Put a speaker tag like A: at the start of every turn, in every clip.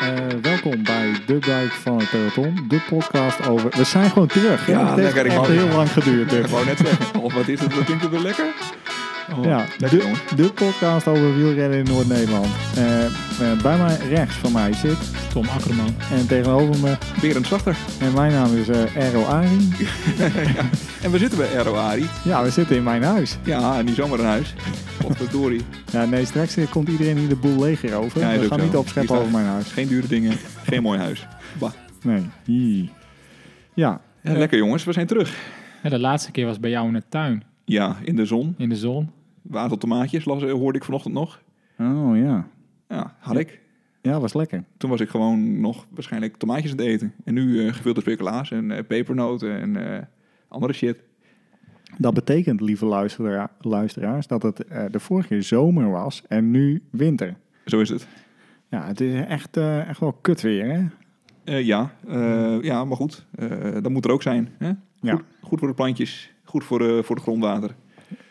A: Eh, de dijk van het peloton. De podcast over... We zijn gewoon terug.
B: Ja,
A: Het heeft
B: lekker, ik
A: echt
B: wou-
A: heel lang geduurd. dit.
B: Gewoon net zeggen. Of wat is het? Wat klinkt het weer lekker? Oh,
A: Ja,
B: lekker jongen.
A: de, de podcast over wielrennen in Noord-Nederland. Eh, eh, bij mij rechts van mij zit
C: Tom Akkerman.
A: en tegenover me.
B: Berend Slachter.
A: En mijn naam is eh Errol Arie.
B: En we zitten bij Eroari.
A: Ja, we zitten in mijn huis.
B: Ja, en niet zomaar een huis. Of de Dory.
A: Ja, nee, straks eh, komt iedereen hier de boel leger over.
B: Ja, is
A: we
B: ook
A: gaan
B: zo.
A: niet opscheppen
B: Is
A: over mijn huis.
B: Geen dure dingen. Geen mooi huis. Bah.
A: Nee. Ie. Ja,
B: Ja, lekker jongens, we zijn terug.
C: Ja, de laatste keer was bij jou in de tuin,
B: Ja, in de zon.
C: in de zon.
B: Watertomaatjes las, hoorde ik vanochtend nog.
A: oh ja.
B: Ja, had ik.
A: Ja, was lekker.
B: Toen was ik gewoon nog waarschijnlijk tomaatjes aan het eten. En nu eh gevulde speculaas en eh, pepernoten en eh, andere shit.
A: Dat betekent, lieve luistera- luisteraars, dat het eh, de vorige keer zomer was en nu winter.
B: Zo is het.
A: Ja, het is echt, eh, echt wel kut weer, hè?
B: Eh, ja, eh, ja, maar goed. Eh, dat moet er ook zijn. Hè?
A: Ja.
B: Goed, goed voor de plantjes. Goed voor, eh, voor het grondwater.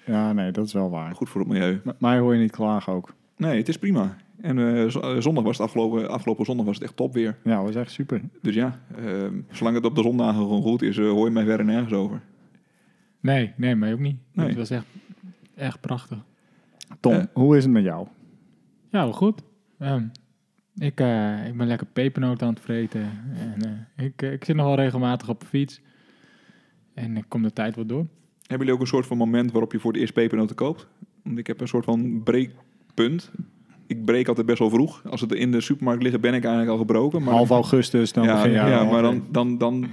A: Ja, nee, dat is wel waar.
B: Goed voor het milieu.
A: M- Mij hoor je niet klagen ook.
B: Nee, het is prima. En eh, z- eh, zondag was het afgelopen, afgelopen zondag was het echt top weer.
A: Ja, was echt super.
B: Dus ja, ehm, zolang het op de zondagen gewoon goed is, eh, hoor je mij verder nergens over.
C: Nee, nee, mij ook niet.
B: Nee.
C: Het was echt, echt prachtig.
A: Tom,
B: Eh.
A: hoe is het met jou?
C: Ja, wel goed. Ehm, ik, eh, ik ben lekker pepernoten aan het vreten. En, eh, ik, eh, ik zit nog wel regelmatig op de fiets. En ik kom de tijd wel door.
B: Hebben jullie ook een soort van moment waarop je voor het eerst pepernoten koopt? Want ik heb een soort van breekpunt. Ik breek altijd best wel vroeg. Als het in de supermarkt liggen, ben ik eigenlijk al gebroken. Maar
A: Half augustus, dan
B: ja,
A: begin je
B: ja,
A: al.
B: maar dan, dan, dan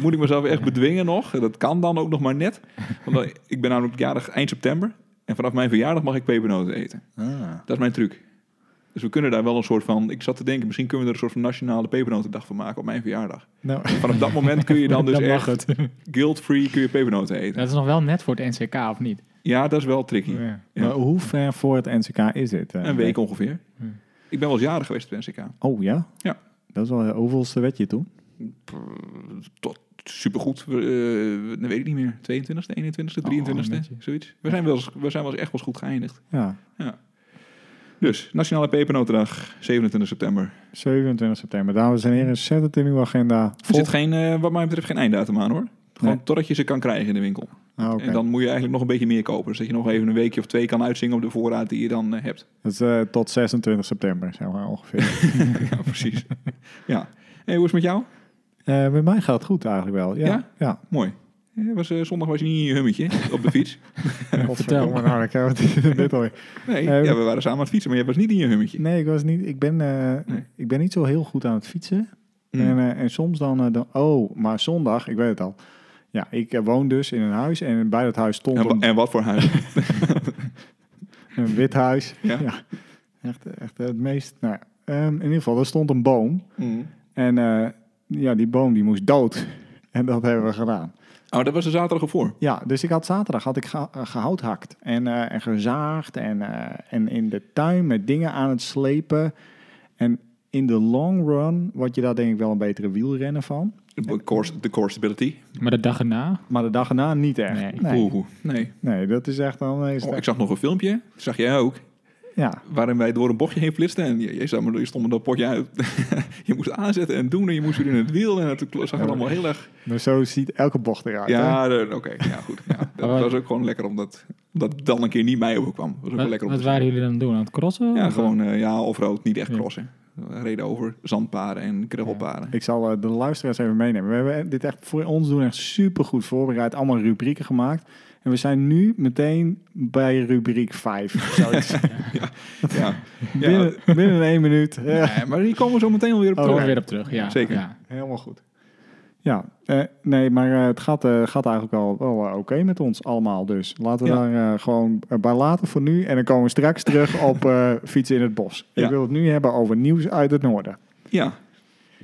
B: moet ik mezelf echt bedwingen nog. Dat kan dan ook nog maar net. Want dan- ik ben namelijk jarig eind september. En vanaf mijn verjaardag mag ik pepernoten eten.
A: Ah.
B: Dat is mijn truc. Dus we kunnen daar wel een soort van... Ik zat te denken, misschien kunnen we er een soort van nationale pepernotendag van maken op mijn verjaardag.
A: Nou,
B: Vanaf dat moment kun je dan dus
C: dat mag
B: echt
C: het.
B: guilt-free kun je pepernoten eten.
C: Dat is nog wel net voor het NCK, of niet?
B: Ja, dat is wel tricky.
C: Ja.
B: Ja.
A: maar hoe ver voor het NCK is dit? eh?
B: Een week ongeveer.
C: Hm.
B: Ik ben wel eens jarig geweest op het NCK.
A: Oh ja?
B: Ja.
A: Dat is wel hoeveelste werd je toen?
B: Tot supergoed. We, eh, dat weet ik niet meer. 22e, 21e, 23e,
C: netje.
B: zoiets. We zijn, wel eens, we zijn wel eens echt wel eens goed geëindigd.
A: Ja,
B: Dus, Nationale Pepernotendag, 27 september.
A: 27 september. Dames en heren, zet het in uw agenda.
B: Er
A: Volg...
B: zit geen, eh, wat mij betreft geen einddatum aan hoor. Gewoon
A: Nee.
B: totdat je ze kan krijgen in de winkel.
A: Ah, oké.
B: En dan moet je eigenlijk nog een beetje meer kopen. Zodat je nog even een weekje of twee kan uitzingen op de voorraad die je dan eh, hebt.
A: Dat is eh, tot 26 september, zeg maar ongeveer.
B: ja, precies. ja. En hoe is het met jou?
A: Eh met mij gaat het goed eigenlijk wel. Ja?
B: Ja?
A: Ja.
B: Mooi. Eh, Was, eh, zondag was je niet in je hummetje op de fiets.
A: Godverdomme, nou, ik heb het dit alweer.
B: Nee,
A: Eh,
B: ja, we waren samen aan het fietsen, maar je was niet in je hummetje.
A: Nee, ik, was niet, ik, ben, eh,
B: Nee.
A: ik ben niet zo heel goed aan het fietsen.
B: Mm.
A: En, eh, en soms dan, eh, dan... Oh, maar zondag, ik weet het al. Ja, ik eh, woon dus in een huis en bij dat huis stond
B: En, wa-
A: een,
B: en wat voor huis?
A: een wit huis.
B: Ja.
A: Echt, echt het meest... Nou, ja. Ehm, in ieder geval, er stond een boom. En eh, ja, die boom die moest dood. En dat hebben we gedaan.
B: Oh, dat was de zaterdag ervoor.
A: Ja, dus ik had zaterdag had ik ge- eh, gehouthakt en, eh, en gezaagd en, eh, en in de tuin met dingen aan het slepen. En in de long run word je daar denk ik wel een betere wielrenner van.
B: De core, de core stability.
C: Maar de dag erna,
A: Maar de dag erna niet echt.
C: Nee.
A: nee,
B: Oeh, nee.
A: Nee, dat is echt dan... Is
B: Oh,
A: dat-
B: ik zag nog een filmpje, dat zag jij ook,
A: ja.
B: waarin wij door een bochtje heen flitsten. En je, je, zag maar, je stond met dat potje uit. je moest aanzetten en doen en je moest weer in het wiel. En het klo- zag er allemaal heel erg...
A: Maar zo ziet elke bocht
C: Ah,
A: eruit. hè?
B: Ja, de- oké. ja, goed. Ja,
C: Oh.
B: dat was ook gewoon lekker, omdat dat dan een keer niet mij overkwam. Dat was ook wel
C: wat,
B: lekker om
C: wat
B: te
C: waren jullie dan aan het doen? Aan het crossen?
B: Ja,
C: Of-
B: gewoon eh ja, offroad, niet echt
C: Ja.
B: crossen. We reden over zandpaden en gravelpaden.
A: Ik zal eh, de luisteraars even meenemen. We hebben dit echt voor ons doen echt super goed voorbereid. Allemaal rubrieken gemaakt. En we zijn nu meteen bij rubriek 5.
B: Ja. Ja,
A: binnen, binnen één minuut. Ja.
B: nee, maar hier komen we zo meteen alweer op
A: Oh,
C: Komen
B: terug.
C: we eh, weer op terug, ja.
B: Zeker.
C: Ja.
A: Helemaal goed. Ja, eh, nee, maar eh, het gaat, eh, gaat eigenlijk wel, wel eh, oké met ons allemaal. Dus laten we
B: Ja.
A: daar eh, gewoon eh, bij laten voor nu. En dan komen we straks terug op eh, fietsen in het bos.
B: Ja.
A: Ik wil het nu hebben over nieuws uit het noorden.
B: Ja.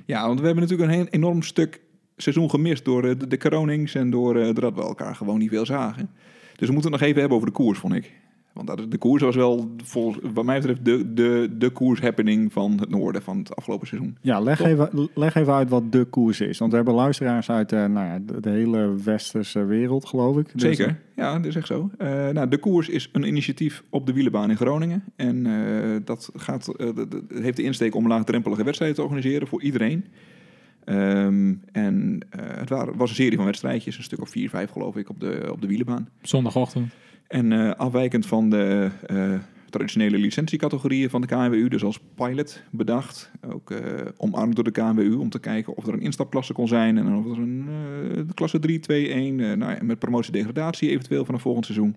B: ja, want we hebben natuurlijk een heel enorm stuk seizoen gemist door eh, de, de Kronings en door eh, doordat we elkaar gewoon niet veel zagen. Dus we moeten het nog even hebben over de koers, vond ik. Want dat- de koers was wel, volgens, wat mij betreft, de, de, de koershappening van het noorden van het afgelopen seizoen.
A: Ja, leg
B: Toch?
A: even, leg even uit wat de koers is. Want we hebben luisteraars uit eh, nou ja, de, de hele westerse wereld, geloof ik. Dus-
B: Zeker, ja, dat is echt zo. Eh, nou, de koers is een initiatief op de wielenbaan in Groningen. En eh, dat gaat, eh, dat- dat heeft de insteek om laagdrempelige wedstrijden te organiseren voor iedereen. Ehm, en eh, het waren- was een serie van wedstrijdjes, een stuk of vier, vijf geloof ik, op de, op de wielenbaan.
C: Zondagochtend.
B: En eh, afwijkend van de eh, traditionele licentiecategorieën van de KNWU, dus als pilot bedacht, ook eh, omarmd door de KNWU om te kijken of er een instapklasse kon zijn en of er een eh, klasse 3, 2, 1, eh, nou ja, met promotiedegradatie eventueel vanaf volgend seizoen.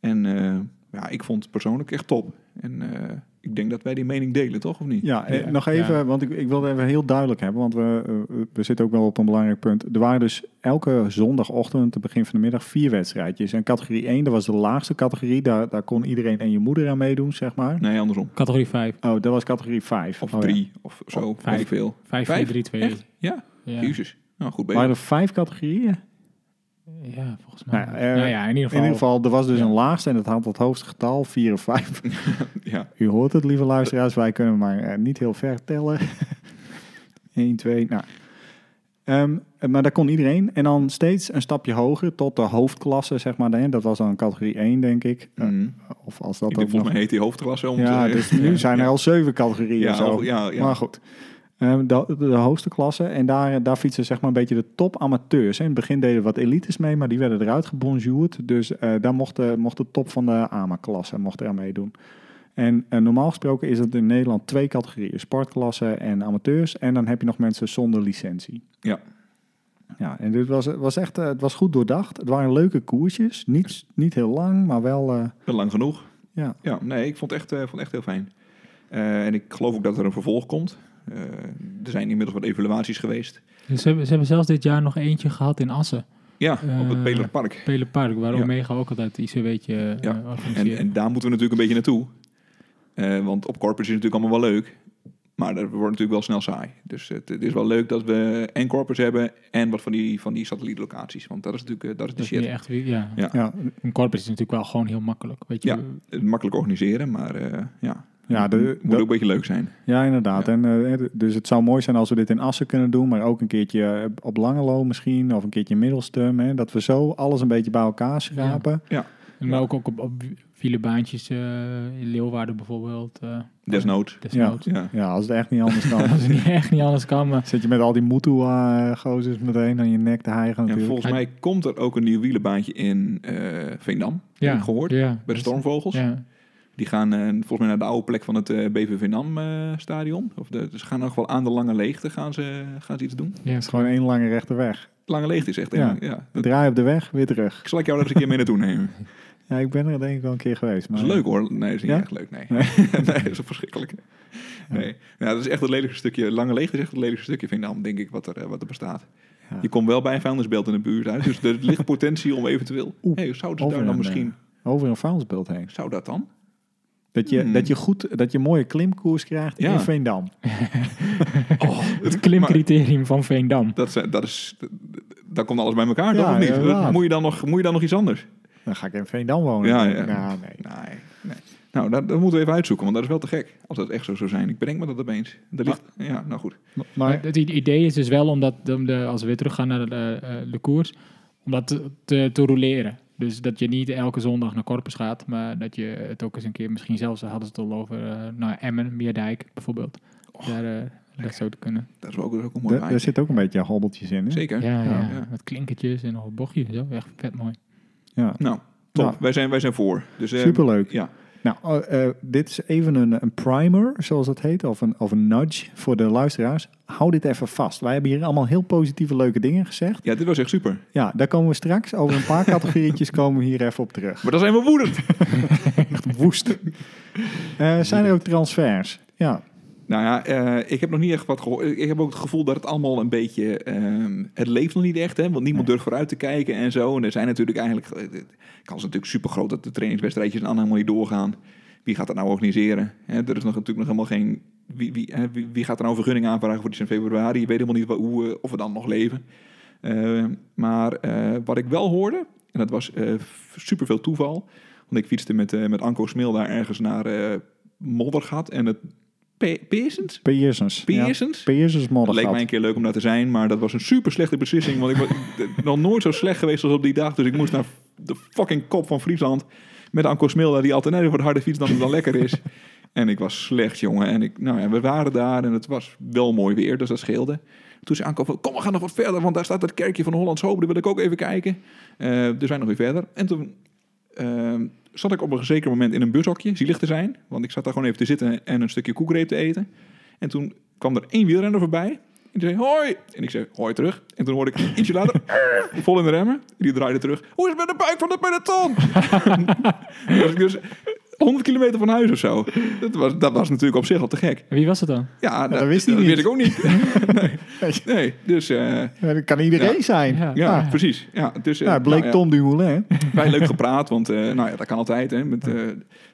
B: En eh, ja, ik vond het persoonlijk echt top. En eh, ik denk dat wij die mening delen, toch? Of niet?
A: Ja, eh,
C: Ja,
A: nog even,
C: ja.
A: want ik, ik wilde even heel duidelijk hebben, want we, eh, we zitten ook wel op een belangrijk punt. Er waren dus elke zondagochtend, het begin van de middag, vier wedstrijdjes. En categorie 1, dat was de laagste categorie, daar, daar kon iedereen en je moeder aan meedoen, zeg maar.
B: Nee, andersom.
C: Categorie 5.
A: Oh, dat was categorie 5.
B: Of
A: oh, ja.
B: drie, of zo,
C: vijf.
B: weet ik veel.
C: 5,
B: Vijf?
C: 4, 3, 2.
B: Echt? Ja,
C: Ja.
B: jezus. Nou, goed bezig.
A: Waren er vijf categorieën?
C: ja, volgens mij.
A: Nou
C: Nou,
A: ja, eh,
C: ja, in ieder
A: In
C: geval.
A: ieder geval, er was dus
C: Ja.
A: een laagste en het had het hoogste getal, 4 of 5.
B: Ja.
A: U hoort het, lieve luisteraars. Wij kunnen maar eh, niet heel ver tellen. 1, 2, nou. Ehm, maar daar kon iedereen. En dan steeds een stapje hoger tot de hoofdklasse, zeg maar. hè. Dat was dan categorie 1, denk ik. Eh,
B: Mhm.
A: Of als dat
B: Ik
A: ook
B: denk, volgens
A: nog...
B: mij heet die hoofdklasse om
A: Ja,
B: te-
A: dus nu zijn er al zeven categorieën.
B: ja,
A: zo.
B: al- ja, ja.
A: Maar goed. Ehm, de, de hoogste klasse. En daar, eh, daar fietsen zeg maar een beetje de top amateurs. hè. In het begin deden wat elites mee, maar die werden eruit gebonjourd. Dus eh, daar mocht de, mocht de top van de AMA-klasse mocht eraan meedoen. En eh, normaal gesproken is het in Nederland twee categorieën. Sportklasse en amateurs. En dan heb je nog mensen zonder licentie.
B: Ja.
A: Ja, en dit was, was echt, eh, het was goed doordacht. Het waren leuke koersjes. Niet, niet heel lang, maar wel... eh,
B: Wel Lang genoeg.
A: Ja.
B: Ja, nee, ik vond het echt, eh, vond het echt heel fijn. Eh, en ik geloof ook dat er een vervolg komt. Eh, er zijn inmiddels wat evaluaties geweest.
C: Dus ze, hebben, ze hebben zelfs dit jaar nog eentje gehad in Assen.
B: Ja, op het
C: Eh,
B: Pelerpark.
C: Pelenpark, waar
B: Ja.
C: Omega ook altijd ICW'tje
B: Ja.
C: ja.
B: En,
C: eh, organiseert.
B: en daar moeten we natuurlijk een beetje naartoe. Eh, want op corpus is het natuurlijk allemaal wel leuk. Maar dat wordt natuurlijk wel snel saai. Dus het, het is wel leuk dat we en corpus hebben en wat van die, van die satellietlocaties. Want dat is natuurlijk eh, dat is de
C: dat is
B: shit.
C: niet echt, wie- ja.
B: Ja.
A: ja,
C: Een corpus is natuurlijk wel gewoon heel makkelijk. Weet je,
B: Ja. Eh, Makkelijk organiseren, maar eh, ja.
A: ja, de,
B: moet ook een beetje leuk zijn.
A: Ja, inderdaad.
B: Ja.
A: En, eh, d- dus het zou mooi zijn als we dit in Assen kunnen doen, maar ook een keertje eh, op Langelo misschien, of een keertje in Middelstum. Hè, dat we zo alles een beetje bij elkaar schrapen.
C: En Maar ook, ook op, op wielenbaantjes eh, in Leeuwarden bijvoorbeeld. eh
B: Desnoods.
C: desnoods.
B: Ja.
A: Ja, als het echt niet anders kan.
C: Als het niet, echt niet anders kan, maar
A: Zit je met al die Mutua-gozers meteen aan je nek te hijgen
B: En
A: natuurlijk.
B: volgens mij komt er ook een nieuw wielenbaantje in eh Veendam.
C: ja,
B: Heb ik gehoord.
C: Ja,
B: Bij de Stormvogels.
C: Ja,
B: Die gaan eh, volgens mij naar de oude plek van het eh BVV Nam eh, stadion. Of de, dus ze gaan nog wel aan de Lange Leegte gaan ze, gaan ze iets doen.
C: ja,
A: Het is gewoon één lange rechte weg.
B: Lange Leegte is echt... een-
A: Ja.
B: Ja.
A: Draai op de weg, weer terug.
B: Ik zal ik jou daar eens een keer mee naartoe nemen.
A: Ja, ik ben er denk ik al een keer geweest.
B: Dat
A: Maar
B: is leuk hoor. Nee, dat is niet
A: Ja?
B: echt leuk. Nee, nee. dat is verschrikkelijk. Nee. Ja, dat is echt het lelijkste stukje. Lange Leegte is echt het lelijkste stukje Veendam, denk ik, wat er, eh, wat er bestaat.
A: Ja.
B: Je komt wel bij een vuilnisbelt in de buurt uit. Dus er ligt potentie om eventueel...
A: Oeh,
B: hey, zou dat
A: over
B: daar dan
A: een,
B: misschien...
A: Over een vuilnisbeeld heen.
B: Zou dat dan?
A: Dat je,
B: Hmm.
A: dat je goed, dat je een mooie klimkoers krijgt
B: Ja.
A: in Veendam. Oh,
C: Het klimcriterium van Veendam.
B: Dat, is- dat is... Daar komt alles bij elkaar,
A: Ja,
B: toch? Of niet?
A: inderdaad.
B: Moet je, dan nog, moet je dan nog iets anders?
A: Dan ga ik in Veendam wonen.
B: Ja, ja.
A: Nou, nee.
B: Nee, nee. Nou, dat, dat moeten we even uitzoeken, want dat is wel te gek. Als dat echt zo zou zijn. Ik bedenk me dat opeens. Er ligt,
A: Ah.
B: ja, nou goed.
A: Maar,
C: Het i- idee is dus wel om dat, om de, als we weer teruggaan naar de, eh, eh, de koers, om dat te, te, te roleren. Dus dat je niet elke zondag naar Corpus gaat, maar dat je het ook eens een keer, misschien zelfs hadden ze het al over, eh, naar Emmen, Meerdijk bijvoorbeeld. Daar, eh, dat zou te kunnen.
B: Dat is wel ook, dat is ook een mooi
A: Er er
B: baantje.
A: zit ook een beetje hobbeltjes in. Hè?
B: Zeker.
C: Ja, ja,
B: ja.
C: met klinkertjes en nog een bochtje. en Zo, echt vet mooi.
A: Ja.
B: Nou, top.
A: Nou.
B: Wij, zijn, wij zijn voor. Dus, eh,
A: Superleuk.
B: Ja,
A: Nou, eh, eh, dit is even een, een primer, zoals dat heet, of een, of een nudge voor de luisteraars. Hou dit even vast. Wij hebben hier allemaal heel positieve, leuke dingen gezegd.
B: ja, dit was echt super.
A: Ja, daar komen we straks. Over een paar categorietjes komen we hier even op terug.
B: Maar dan zijn we woedend.
A: Woest. Eh, zijn er ook transfers? Ja.
B: nou ja, eh, ik heb nog niet echt wat gehoord. Ik heb ook het gevoel dat het allemaal een beetje... ehm, het leeft nog niet echt, hè. Want niemand durft vooruit te kijken en zo. En er zijn natuurlijk eigenlijk... eh, De kans is natuurlijk super groot dat de trainingswedstrijdjes en helemaal niet doorgaan. Wie gaat dat nou organiseren? Hè, er is nog, natuurlijk nog helemaal geen... Wie, wie, hè, wie, wie gaat er nou een vergunning aanvragen voor iets in februari? Je weet helemaal niet wa- hoe, eh, of we dan nog leven. Eh, maar eh, wat ik wel hoorde, en dat was eh, f- superveel toeval... Want ik fietste met, eh, met Anko Smil daar ergens naar eh, Moddergat en het Pe- Peersens?
A: Pearsons.
B: Peersens?
A: Ja. Pearsons
B: Het leek mij
A: moddergat.
B: een keer leuk om daar te zijn, maar dat was een super slechte beslissing. Want ik was nog nooit zo slecht geweest als op die dag. Dus ik moest naar de fucking kop van Friesland met Anko Smilda, die altijd net even wat harder fiets dan het dan lekker is. En ik was slecht, jongen. En ik, nou ja, we waren daar en het was wel mooi weer, dus dat scheelde. Toen zei Anko van, kom, we gaan nog wat verder, want daar staat het kerkje van Hollands Hoop. Daar wil ik ook even kijken. Eh dus wij nog weer verder. En toen ehm, zat ik op een zeker moment in een bushokje, zielig te zijn. Want ik zat daar gewoon even te zitten en een stukje koekreep te eten. En toen kwam er één wielrenner voorbij. En die zei hoi. En ik zei hoi terug. En toen hoorde ik ietsje later vol in de remmen. En die draaide terug. Hoe is het met de buik van de peloton? dat was ik dus 100 kilometer van huis of zo. Dat was, dat was natuurlijk op zich al te gek.
C: En Wie was het dan?
B: Ja, dat,
A: dat wist hij
B: dat
A: niet.
B: weet ik ook niet. nee. nee, dus eh,
A: Ja, dat kan iedereen
B: Ja.
A: zijn.
C: Ja.
A: Ja.
B: ja,
C: Ah.
B: precies. Ja, dus, eh,
A: Nou, het bleek
B: nou ja.
A: Tom Dumoulin.
B: Wij leuk gepraat, want eh, nou ja, dat kan altijd. Hè, met, eh,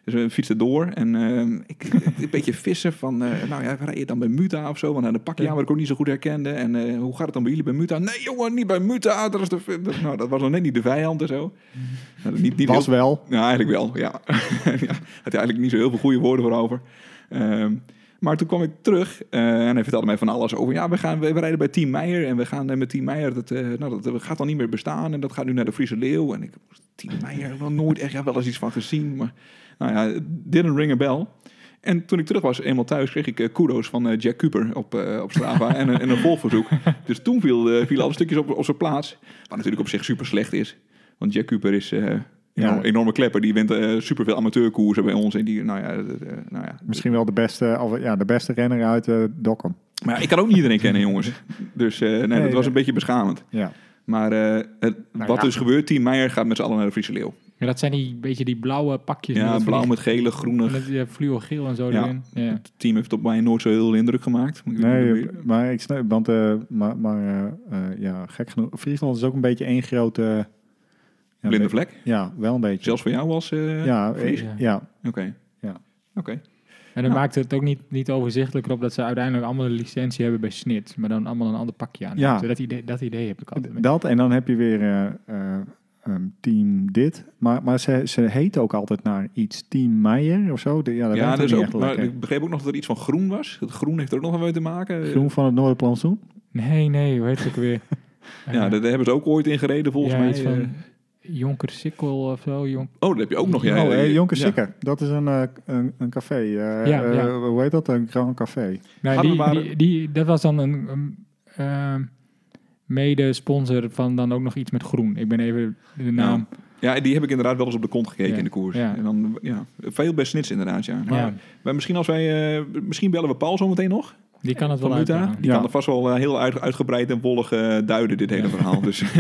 B: dus we fietsten door en ehm, ik, een beetje vissen van, eh, nou ja, rij je dan bij Muta of zo? Want aan de pakja waar ik ook niet zo goed herkende. En eh, hoe gaat het dan bij jullie bij Muta? Nee jongen, niet bij Muta. Dat, is de, dat- nou, dat was nog net niet de vijand en zo. Nou, niet, niet
A: Was
B: heel-
A: wel.
B: ja, eigenlijk wel, ja. ja had hij eigenlijk niet zo heel veel goede woorden voor over. Ehm, maar toen kwam ik terug eh, en hij vertelde mij van alles over... ja, we, gaan, we, we rijden bij Team Meijer en we gaan eh, met Team Meijer... Dat, eh, nou, dat eh, gaat dan niet meer bestaan en dat gaat nu naar de Friese Leeuw. En ik, Team Meijer, nog nooit echt ja, wel eens iets van gezien. Maar nou ja, it didn't ring a bell. En toen ik terug was, eenmaal thuis, kreeg ik eh, kudo's van eh, Jack Cooper op, eh, op Strava en, een- en een volverzoek. Dus toen viel, eh, vielen alle stukjes op, op zijn plaats. Wat natuurlijk op zich super slecht is. Want Jack Cooper is eh, een
A: Ja.
B: enorme- enorme klepper. Die wint eh, superveel amateurkoersen bij ons. En die, nou ja, dat, eh, nou ja.
A: Misschien wel de beste, of, ja, de beste renner uit eh Dokkum.
B: Maar ja, ik kan ook niet iedereen kennen, jongens. Dus eh, nee, dat was
A: nee.
B: een beetje beschamend.
A: Ja.
B: Maar eh, het- wat
A: ja.
B: dus gebeurt, Team Meijer gaat met z'n allen naar de Friese Leeuw.
C: Ja, dat zijn die beetje die blauwe pakjes. met
B: Ja,
C: dat
B: blauw
C: van
B: met gele,
C: die-
B: groene.
C: Met die fluogeel en zo
B: Ja.
C: erin. Ja.
B: Het team heeft op mij nooit zo heel veel indruk gemaakt. Moet ik
A: Nee,
B: weer-
A: maar ik snap, want eh, maar, maar eh, eh, ja, gek genoeg. Friesland is ook een beetje één grote. eh, ja,
B: blinde
A: be-
B: vlek.
A: Ja, wel een beetje.
B: Zelfs voor jou was... eh,
A: ja,
B: Fries?
A: eh, ja,
B: Oké.
A: Ja.
B: Oké.
C: En dat maakt het ook niet, niet overzichtelijker op dat ze uiteindelijk allemaal een licentie hebben bij Snit. Maar dan allemaal een ander pakje aan.
A: Ja.
C: Dus Dat, idee, dat idee heb ik altijd.
A: dat en dan heb je weer eh, eh, ehm, team dit. Maar, maar ze, ze heet ook altijd naar iets. Team Meijer of zo. De- ja, dat
B: Ja,
A: ja,
B: dat is
A: niet
B: ook,
A: echt
B: maar
A: lekker.
B: ik begreep ook nog dat er iets van groen was. Het groen heeft er ook nog wat mee te maken.
A: Groen van het Noorderplantsoen.
C: Nee, nee, hoe heet het ook weer? Eh,
B: Ja, daar hebben ze ook ooit in gereden volgens
C: ja,
B: mij.
C: iets van
B: Eh,
C: Jonker Sikkel of zo. Jonk...
B: Oh, dat heb je ook nog. Ja,
A: oh,
B: ja,
A: eh,
B: ja.
A: Jonker
B: Ja.
A: Sikker. Dat is een, eh, een, een café. eh,
C: Ja,
A: eh,
C: ja.
A: hoe heet dat? Een Grand Café.
C: Nou,
B: Hadden
C: die,
B: we maar-
C: die, die- dat was dan een, een ehm, mede-sponsor van dan ook nog iets met groen. Ik ben even de naam.
B: Ja, die heb ik inderdaad wel eens op de kont gekeken
C: Ja.
B: in de koers.
C: Ja.
B: En dan, ja, veel bij snits inderdaad, ja. Maar,
C: Ja.
B: maar misschien, als wij, eh, misschien bellen we Paul zometeen nog.
C: Die kan het
B: Van
C: wel uit.
B: Muta. Die
A: Ja.
B: kan er vast wel eh, heel uit- uitgebreid en wollig eh, duiden, dit hele verhaal. Dus ik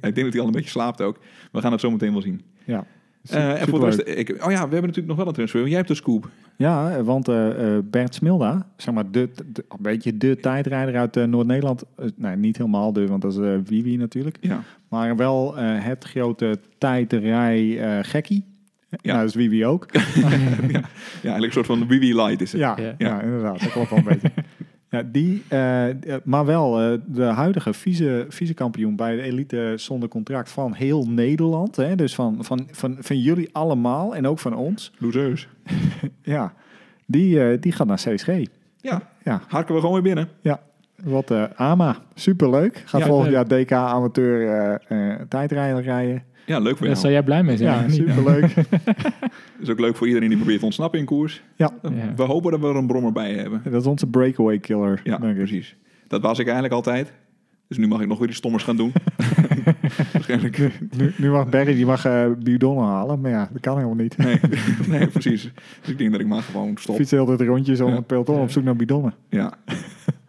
B: denk dat hij al een beetje slaapt ook. We gaan het zometeen wel zien.
A: Ja.
B: Eh, en voor de
A: Superleuk.
B: rest, ik, oh ja, we hebben natuurlijk nog wel een transfer. Jij hebt de scoop.
A: Ja, want eh, eh, Bert Smilda, zeg maar de, de- een beetje de tijdrijder uit eh, Noord-Nederland. Eh, nee, niet helemaal de, want dat is eh Wiwi natuurlijk.
B: Ja.
A: Maar wel eh, het grote tijdrij eh, gekkie.
B: Ja.
A: Ja. Nou, dat is Wiwi ook.
B: ja, eigenlijk een soort van BB Light is het.
A: Ja,
C: Ja.
A: ja. inderdaad. Dat klopt wel een beetje. Ja, die, eh, eh, maar wel eh, de huidige vice, vice-kampioen bij de elite zonder contract van heel Nederland. Hè? Dus van, van, van, van jullie allemaal en ook van ons.
B: Losers.
A: Ja, die, eh, die gaat naar CSG.
B: Ja,
A: Ja,
B: harken we gewoon weer binnen.
A: Wat eh, AMA, superleuk. Gaat
C: Ja,
A: volgend jaar DK amateur eh, eh, tijdrijden rijden.
B: Ja, leuk voor
C: Daar
B: jou.
C: zou jij blij mee zijn.
A: Ja,
C: of niet?
A: superleuk.
B: is ook leuk voor iedereen die probeert te ontsnappen in koers.
A: Ja.
C: Ja.
B: We hopen dat we er een brommer bij hebben.
A: Dat is onze breakaway killer,
B: Ja,
A: denk ik.
B: precies. Dat was ik eigenlijk altijd. Dus nu mag ik nog weer die stommers gaan doen. Waarschijnlijk.
A: Nu, nu mag Barry die mag, eh bidonnen halen, maar ja, dat kan helemaal niet.
B: Nee. nee, precies. Dus ik denk dat ik maar gewoon stop.
A: Fietsen heel tijd rondjes om
B: Ja.
A: het peloton op zoek naar bidonnen.
B: Ja.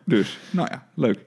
B: Dus, nou ja, leuk.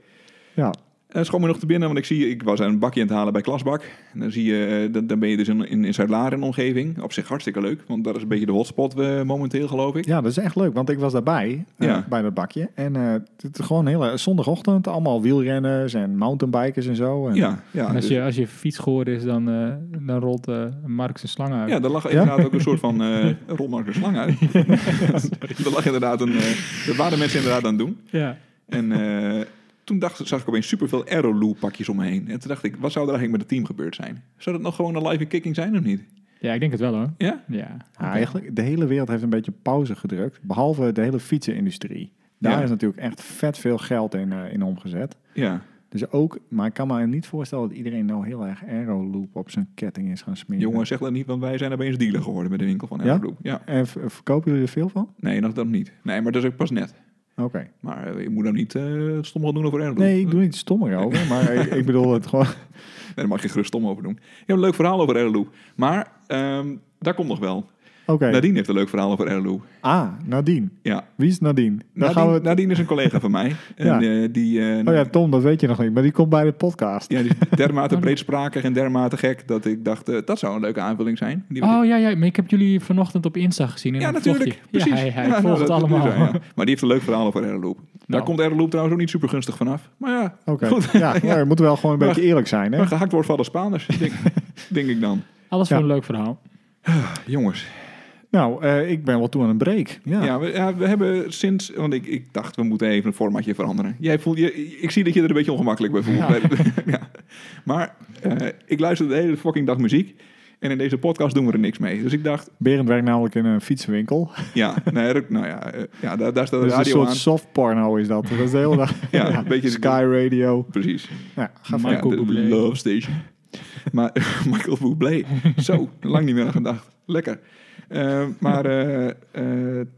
A: Ja,
B: Het schoon me nog te binnen, want ik zie, ik was een bakje aan het halen bij Klasbak. En dan zie je, eh, dan, dan ben je dus in, in, in Zuid-Laren en omgeving. Op zich hartstikke leuk, want dat is een beetje de hotspot eh, momenteel, geloof ik.
A: ja, dat is echt leuk, want ik was daarbij, eh,
B: Ja.
A: bij dat bakje. En eh, het is gewoon heel zondagochtend, allemaal wielrenners en mountainbikers en zo. En,
B: Ja, ja.
C: En Als
B: dus-
C: je, als je fiets gehoord is, dan, eh, dan rolt eh Mark zijn slang uit.
B: Ja, daar lag inderdaad ook een soort van eh rolmarker slang uit. er lag inderdaad een... eh, dat waren mensen inderdaad aan het doen.
C: Ja.
B: En eh, toen dacht, zag ik opeens superveel Aeroloop pakjes om me heen. En toen dacht ik, wat zou er eigenlijk met het team gebeurd zijn? Zou dat nog gewoon een live in kicking zijn of niet?
C: Ja, ik denk het wel hoor.
B: Ja?
C: Ja. Ah,
A: Ja, Nou, eigenlijk, de hele wereld heeft een beetje pauze gedrukt. Behalve de hele fietsenindustrie. Daar
B: Ja.
A: is natuurlijk echt vet veel geld in, eh, in omgezet.
B: Ja.
A: Dus ook, maar ik kan me niet voorstellen dat iedereen nou heel erg Aeroloop op zijn ketting is gaan smeren.
B: Jongen, zeg dat niet, want wij zijn opeens dealer geworden met de winkel van
A: Ja?
B: Aero Group. Ja.
A: En v- eh, verkopen jullie er veel van?
B: Nee, dat, dat niet. Nee, maar dat is ook pas net.
A: Oké.
B: Maar eh, je moet nou niet eh het stom gaan doen over Aero Group.
A: Nee, ik doe niet stommer over, maar ik, ik bedoel het gewoon.
B: Nee, daar mag je gerust stom over doen. Je hebt een leuk verhaal over Aero Loop. Maar ehm, daar komt nog wel.
A: Oké.
B: Nadine heeft een leuk verhaal over Aero Loop.
A: Ah, Nadine.
B: Ja.
A: Wie is Nadine? Dan
B: Nadine,
A: gaan we het-
B: Nadine is een collega van mij. En,
A: Ja.
B: eh, die, eh,
A: Oh ja, Tom, dat weet je nog niet, maar die komt bij de podcast.
B: Ja, die is
C: Oh,
B: dermate breedsprakig en dermate gek dat ik dacht, eh, dat zou een leuke aanvulling zijn. Die wil ik-
C: Oh ja, ja, maar ik heb jullie vanochtend op Insta gezien. In
B: ja,
C: een
B: natuurlijk.
C: vlogje.
B: Precies.
C: Ja, hij, hij
B: Ja, nou, dat-
C: volgt het
B: dat is
C: allemaal.
B: hij, ja. Maar die heeft een leuk verhaal over Aeroloop. Daar
C: Nou.
B: komt Aeroloop trouwens ook niet super gunstig vanaf. Maar ja,
A: Oké.
B: goed.
A: Ja, maar je moet wel gewoon een
B: Maar-
A: beetje eerlijk zijn, hè?
B: Maar gehakt wordt van de Spaanders, denk, denk ik dan.
C: Alles voor
A: Ja.
C: een leuk verhaal.
B: Jongens,
A: Nou, eh, ik ben wel toe aan een break. Ja.
B: ja. we, ja, we hebben sinds... Want ik, ik dacht, we moeten even een formatje veranderen. Jij voelt, je, ik zie dat je er een beetje ongemakkelijk bij voelt. Ja. Maar eh, ik luister de hele fucking dag muziek. En in deze podcast doen we er niks mee. Dus ik dacht,
A: Berend werkt namelijk in een fietsenwinkel.
B: ja, nee, er- nou ja, eh, ja daar, daar staat de
A: Dus een
B: radio
A: soort
B: aan.
A: soft porno is dat. Dat is de hele dag.
B: Ja, een beetje-
A: Sky Radio.
B: Precies.
A: Ja, ga
C: Michael
A: verder.
B: ja, de
C: Bublé.
B: Love Station. Maar Michael Bublé. Zo, lang niet meer aan gedacht. Lekker. Eh, maar eh, eh,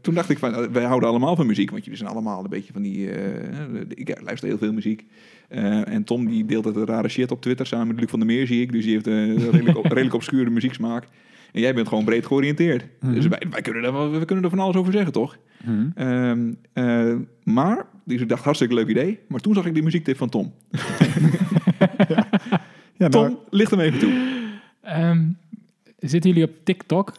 B: toen dacht ik van, eh, wij houden allemaal van muziek, want jullie zijn allemaal een beetje van die. eh, ik luister heel veel muziek. Eh, en Tom die deelt het rare shit op Twitter samen met Luc van der Meer, zie ik. Dus die heeft een redelijk, op- redelijk obscure muzieksmaak. En jij bent gewoon breed georiënteerd. Dus wij, wij, kunnen daar, wel- we kunnen er van alles over zeggen, toch?
A: Mhm.
C: Hm.
B: Ehm, eh, maar, dus ik dacht, hartstikke leuk idee. Maar toen zag ik die muziektip van Tom.
A: Ja, nou,
B: Tom, licht hem even toe.
C: Ehm, zitten jullie op TikTok?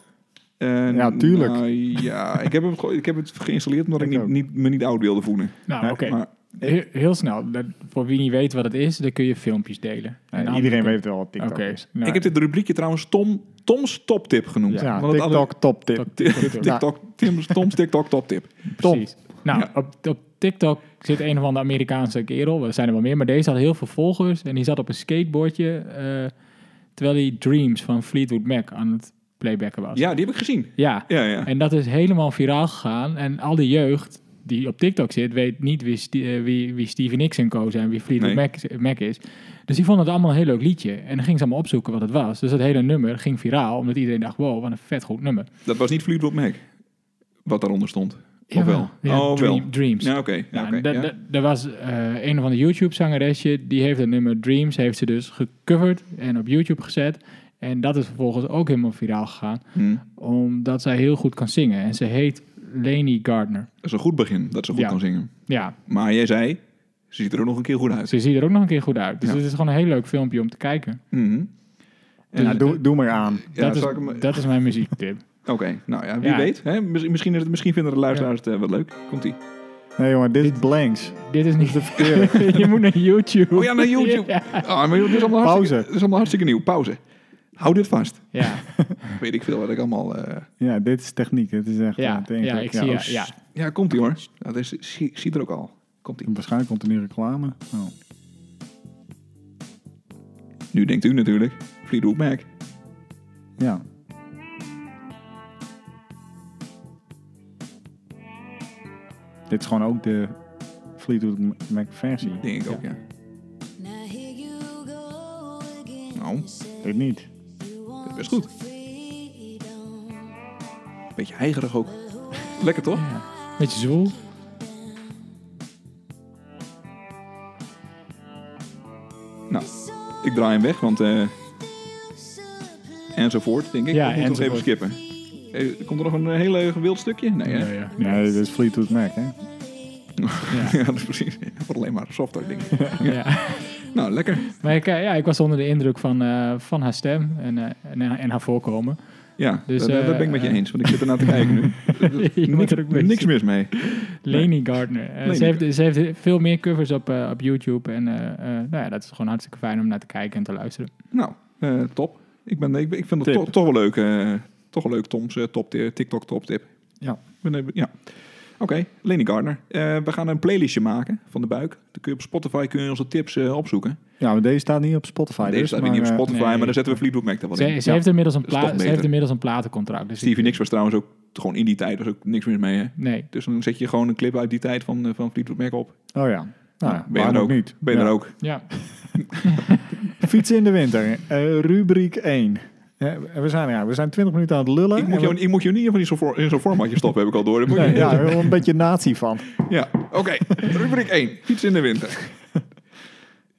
B: Eh,
A: Ja, tuurlijk.
B: nou, ja, ik heb, hem, ge- ik heb het geïnstalleerd omdat ik,
A: Ik
B: niet,
A: ook.
B: niet, me niet oud wilde voelen.
C: Nou,
A: Ja,
C: oké.
B: Maar
C: Heel, heel snel. Dat- voor wie niet weet wat het is, dan kun je filmpjes delen. En
A: eh,
C: andere-
A: iedereen weet wel wat
C: Oké.
A: TikTok is.
C: nou,
B: ik heb dit rubriekje trouwens Tom, Tom's toptip genoemd.
A: Ja,
B: Want het
A: TikTok
B: andere-
A: top tip.
C: TikTok.
B: TikTok, Tim's, Tom's TikTok toptip.
A: Tom.
C: Precies. Nou,
B: Ja.
C: op, op TikTok zit een of andere Amerikaanse kerel. Er zijn er wel meer, maar deze had heel veel volgers. En die zat op een skateboardje. eh, terwijl hij Dreams van Fleetwood Mac aan het playbacken was.
B: Ja, die heb ik gezien.
C: ja.
B: Ja, ja.
C: En dat is helemaal viraal gegaan. En al die jeugd die op TikTok zit, weet niet wie, Ste- eh, wie, wie Stevie Nicks en Co. zijn, wie Fleetwood
B: Nee.
C: Mac, is- Mac is. Dus die vonden het allemaal een heel leuk liedje. En dan gingen ze allemaal opzoeken wat het was. Dus dat hele nummer ging viraal, omdat iedereen dacht, wow, wat een vet goed nummer.
B: Dat was niet Fleetwood Mac, wat daaronder stond. Of wel?
C: Ja,
B: Oh,
C: Dream-
B: wel.
C: Dreams.
B: Ja, oké. Ja,
C: Ja,
B: oké,
C: en da-
B: ja.
C: da- Er was eh, een of ander YouTube-zangeresje, die heeft het nummer Dreams, heeft ze dus gecoverd en op YouTube gezet. En dat is vervolgens ook helemaal viraal gegaan,
B: Hm.
C: omdat zij heel goed kan zingen. En ze heet Leni Gardner.
B: Dat is een goed begin, dat ze goed
C: Ja.
B: kan zingen.
C: Ja,
B: Maar jij zei, ze ziet er ook nog een keer goed uit.
C: ze ziet er ook nog een keer goed uit. Dus
B: Ja.
C: het is gewoon een heel leuk filmpje om te kijken.
B: Mhm.
A: Ja, nou, doe, doe maar aan.
B: Ja,
C: dat,
B: zal
C: is,
B: ik hem-
C: dat is mijn muziektip.
B: Oké, nou ja, wie
C: Ja.
B: weet. Hè? Miss- Misschien, is het- misschien vinden de luisteraars het eh, wat leuk. Komt-ie.
A: Nee jongen, dit is blanks.
C: Dit is niet
A: De verkeerde.
C: Je moet naar YouTube.
B: Oh ja, naar YouTube.
C: Ja.
B: Ah, maar joh, dit is allemaal
A: Pauze.
B: hartstikke- Dit is allemaal hartstikke nieuw. Pauze. Hou dit vast.
C: Ja,
B: Weet ik veel wat ik allemaal... eh,
A: Ja, dit is techniek. Dit is echt eh,
C: ja,
A: te
C: ja,
A: ingewikkeld.
C: ik zie
A: oh,
C: ja,
A: s-
C: ja.
B: Ja, komt-ie hoor. Dat is, zie, zie er ook al. Komt-ie.
A: Waarschijnlijk komt er nu reclame. Oh.
B: Nu denkt u natuurlijk, Fleetwood Mac.
A: Ja. Dit is gewoon ook de Fleetwood Mac versie.
B: Denk ik ook, ja.
D: Now here you go again.
B: Nou,
D: You say
A: Ik niet.
D: you want
B: best goed.
D: some freedom.
B: Beetje heigerig ook. Lekker toch?
C: Beetje zwoel.
B: Nou, ik draai hem weg, want... eh, enzovoort, denk ik.
C: Ja,
B: Ja, moet nog even skippen.
C: enzovoort.
B: Eh, Komt er nog een heel eh, gewild stukje? Nee, hè?
C: ja.
A: Nee, dit is Fleetwood Mac, hè?
B: ja, dat is precies. Het wordt alleen maar softer, denk ik.
C: ja.
B: nou, lekker.
C: Maar ik, eh, ja, ik was onder de indruk van, eh, van haar stem en, eh, en, en haar voorkomen.
B: Ja,
C: Dus,
B: dat, dat
C: eh,
B: ben ik met je
C: eh,
B: eens, want ik zit ernaar te kijken nu. Dus,
C: Je moet er ook
B: niks,
C: mee
B: niks mis mee.
C: Leni Gardner. Eh,
B: Leni
C: ze, heeft, ze heeft veel meer covers op, eh, op YouTube. En eh, eh, nou ja, dat is gewoon hartstikke fijn om naar te kijken en te luisteren.
B: Nou, eh, top. Ik, ben, ik, ik vind het
A: Tip.
B: toch- toch wel leuk. eh, toch wel leuk, Tom's eh, top, TikTok top tip.
A: Ja.
B: Ik ben, eh, ja. Oké, Lenny Gardner. Eh, we gaan een playlistje maken van de buik. Dan kun je op Spotify kun je onze tips eh, opzoeken.
A: Ja, maar deze staat niet op Spotify.
B: Deze
A: dus,
B: staat
A: maar,
B: weer niet op
A: eh,
B: Spotify,
C: nee.
B: maar daar zetten we Fleetwood Mac er wel
C: Ze,
B: in.
C: ze heeft inmiddels een
B: Dat is
C: pla-
B: toch
C: ze heeft
B: beter.
C: inmiddels een platencontract. Dus ik-
B: Stevie Nicks was trouwens ook gewoon in die tijd, dus ook niks meer mee. Hè?
C: Nee.
B: Dus dan zet je gewoon een clip uit die tijd van, eh, van Fleetwood Mac op.
A: Oh ja. Nou,
B: ben je er
A: waarom
B: ook?
A: niet?
B: Ben je
A: Ja.
B: er ook?
C: Ja. Oh,
A: Fietsen in de winter. Eh, rubriek 1. Eh, we, zijn, ja, we zijn 20 minuten aan het lullen.
B: Ik moet,
A: En we-
B: jou, ik moet jou niet even in zo'n voor- in zo'n formatje stoppen, heb ik al door. Dat moet je
A: Nee,
B: niet
A: ja,
B: doen.
A: we hebben wel een beetje nazi van.
B: Ja, oké. Rubriek 1. Fiets in de winter.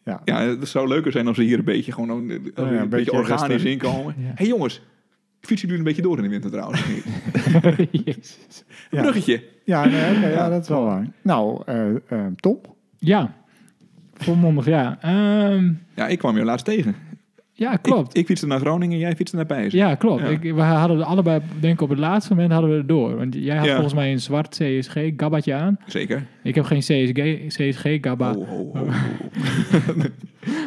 A: Ja.
B: Ja, het zou leuker zijn als ze hier een beetje gewoon een, een,
A: een
B: beetje,
A: beetje
B: organisch
A: rustig.
B: inkomen.
C: Ja.
B: hey jongens, fietsen jullie een beetje door in de winter trouwens.
C: Jezus.
A: Ja,
B: Bruggetje.
A: ja, nee, oké, ja, dat is wel waar. Nou, eh eh, Tom.
C: Ja. Volmondig, ja. Ehm,
B: Ja, ik kwam jou laatst tegen.
C: ja, klopt.
B: Ik, ik fietste naar Groningen, jij fietste naar Pijs.
C: Ja, klopt.
B: Ja.
C: Ik, we hadden het allebei, denk ik, op het laatste moment hadden we het door. Want jij had
B: Ja.
C: volgens mij een zwart CSG-gabbatje aan.
B: Zeker.
C: Ik heb geen CSG, CSG-gabba.
B: Ho, ho, ho.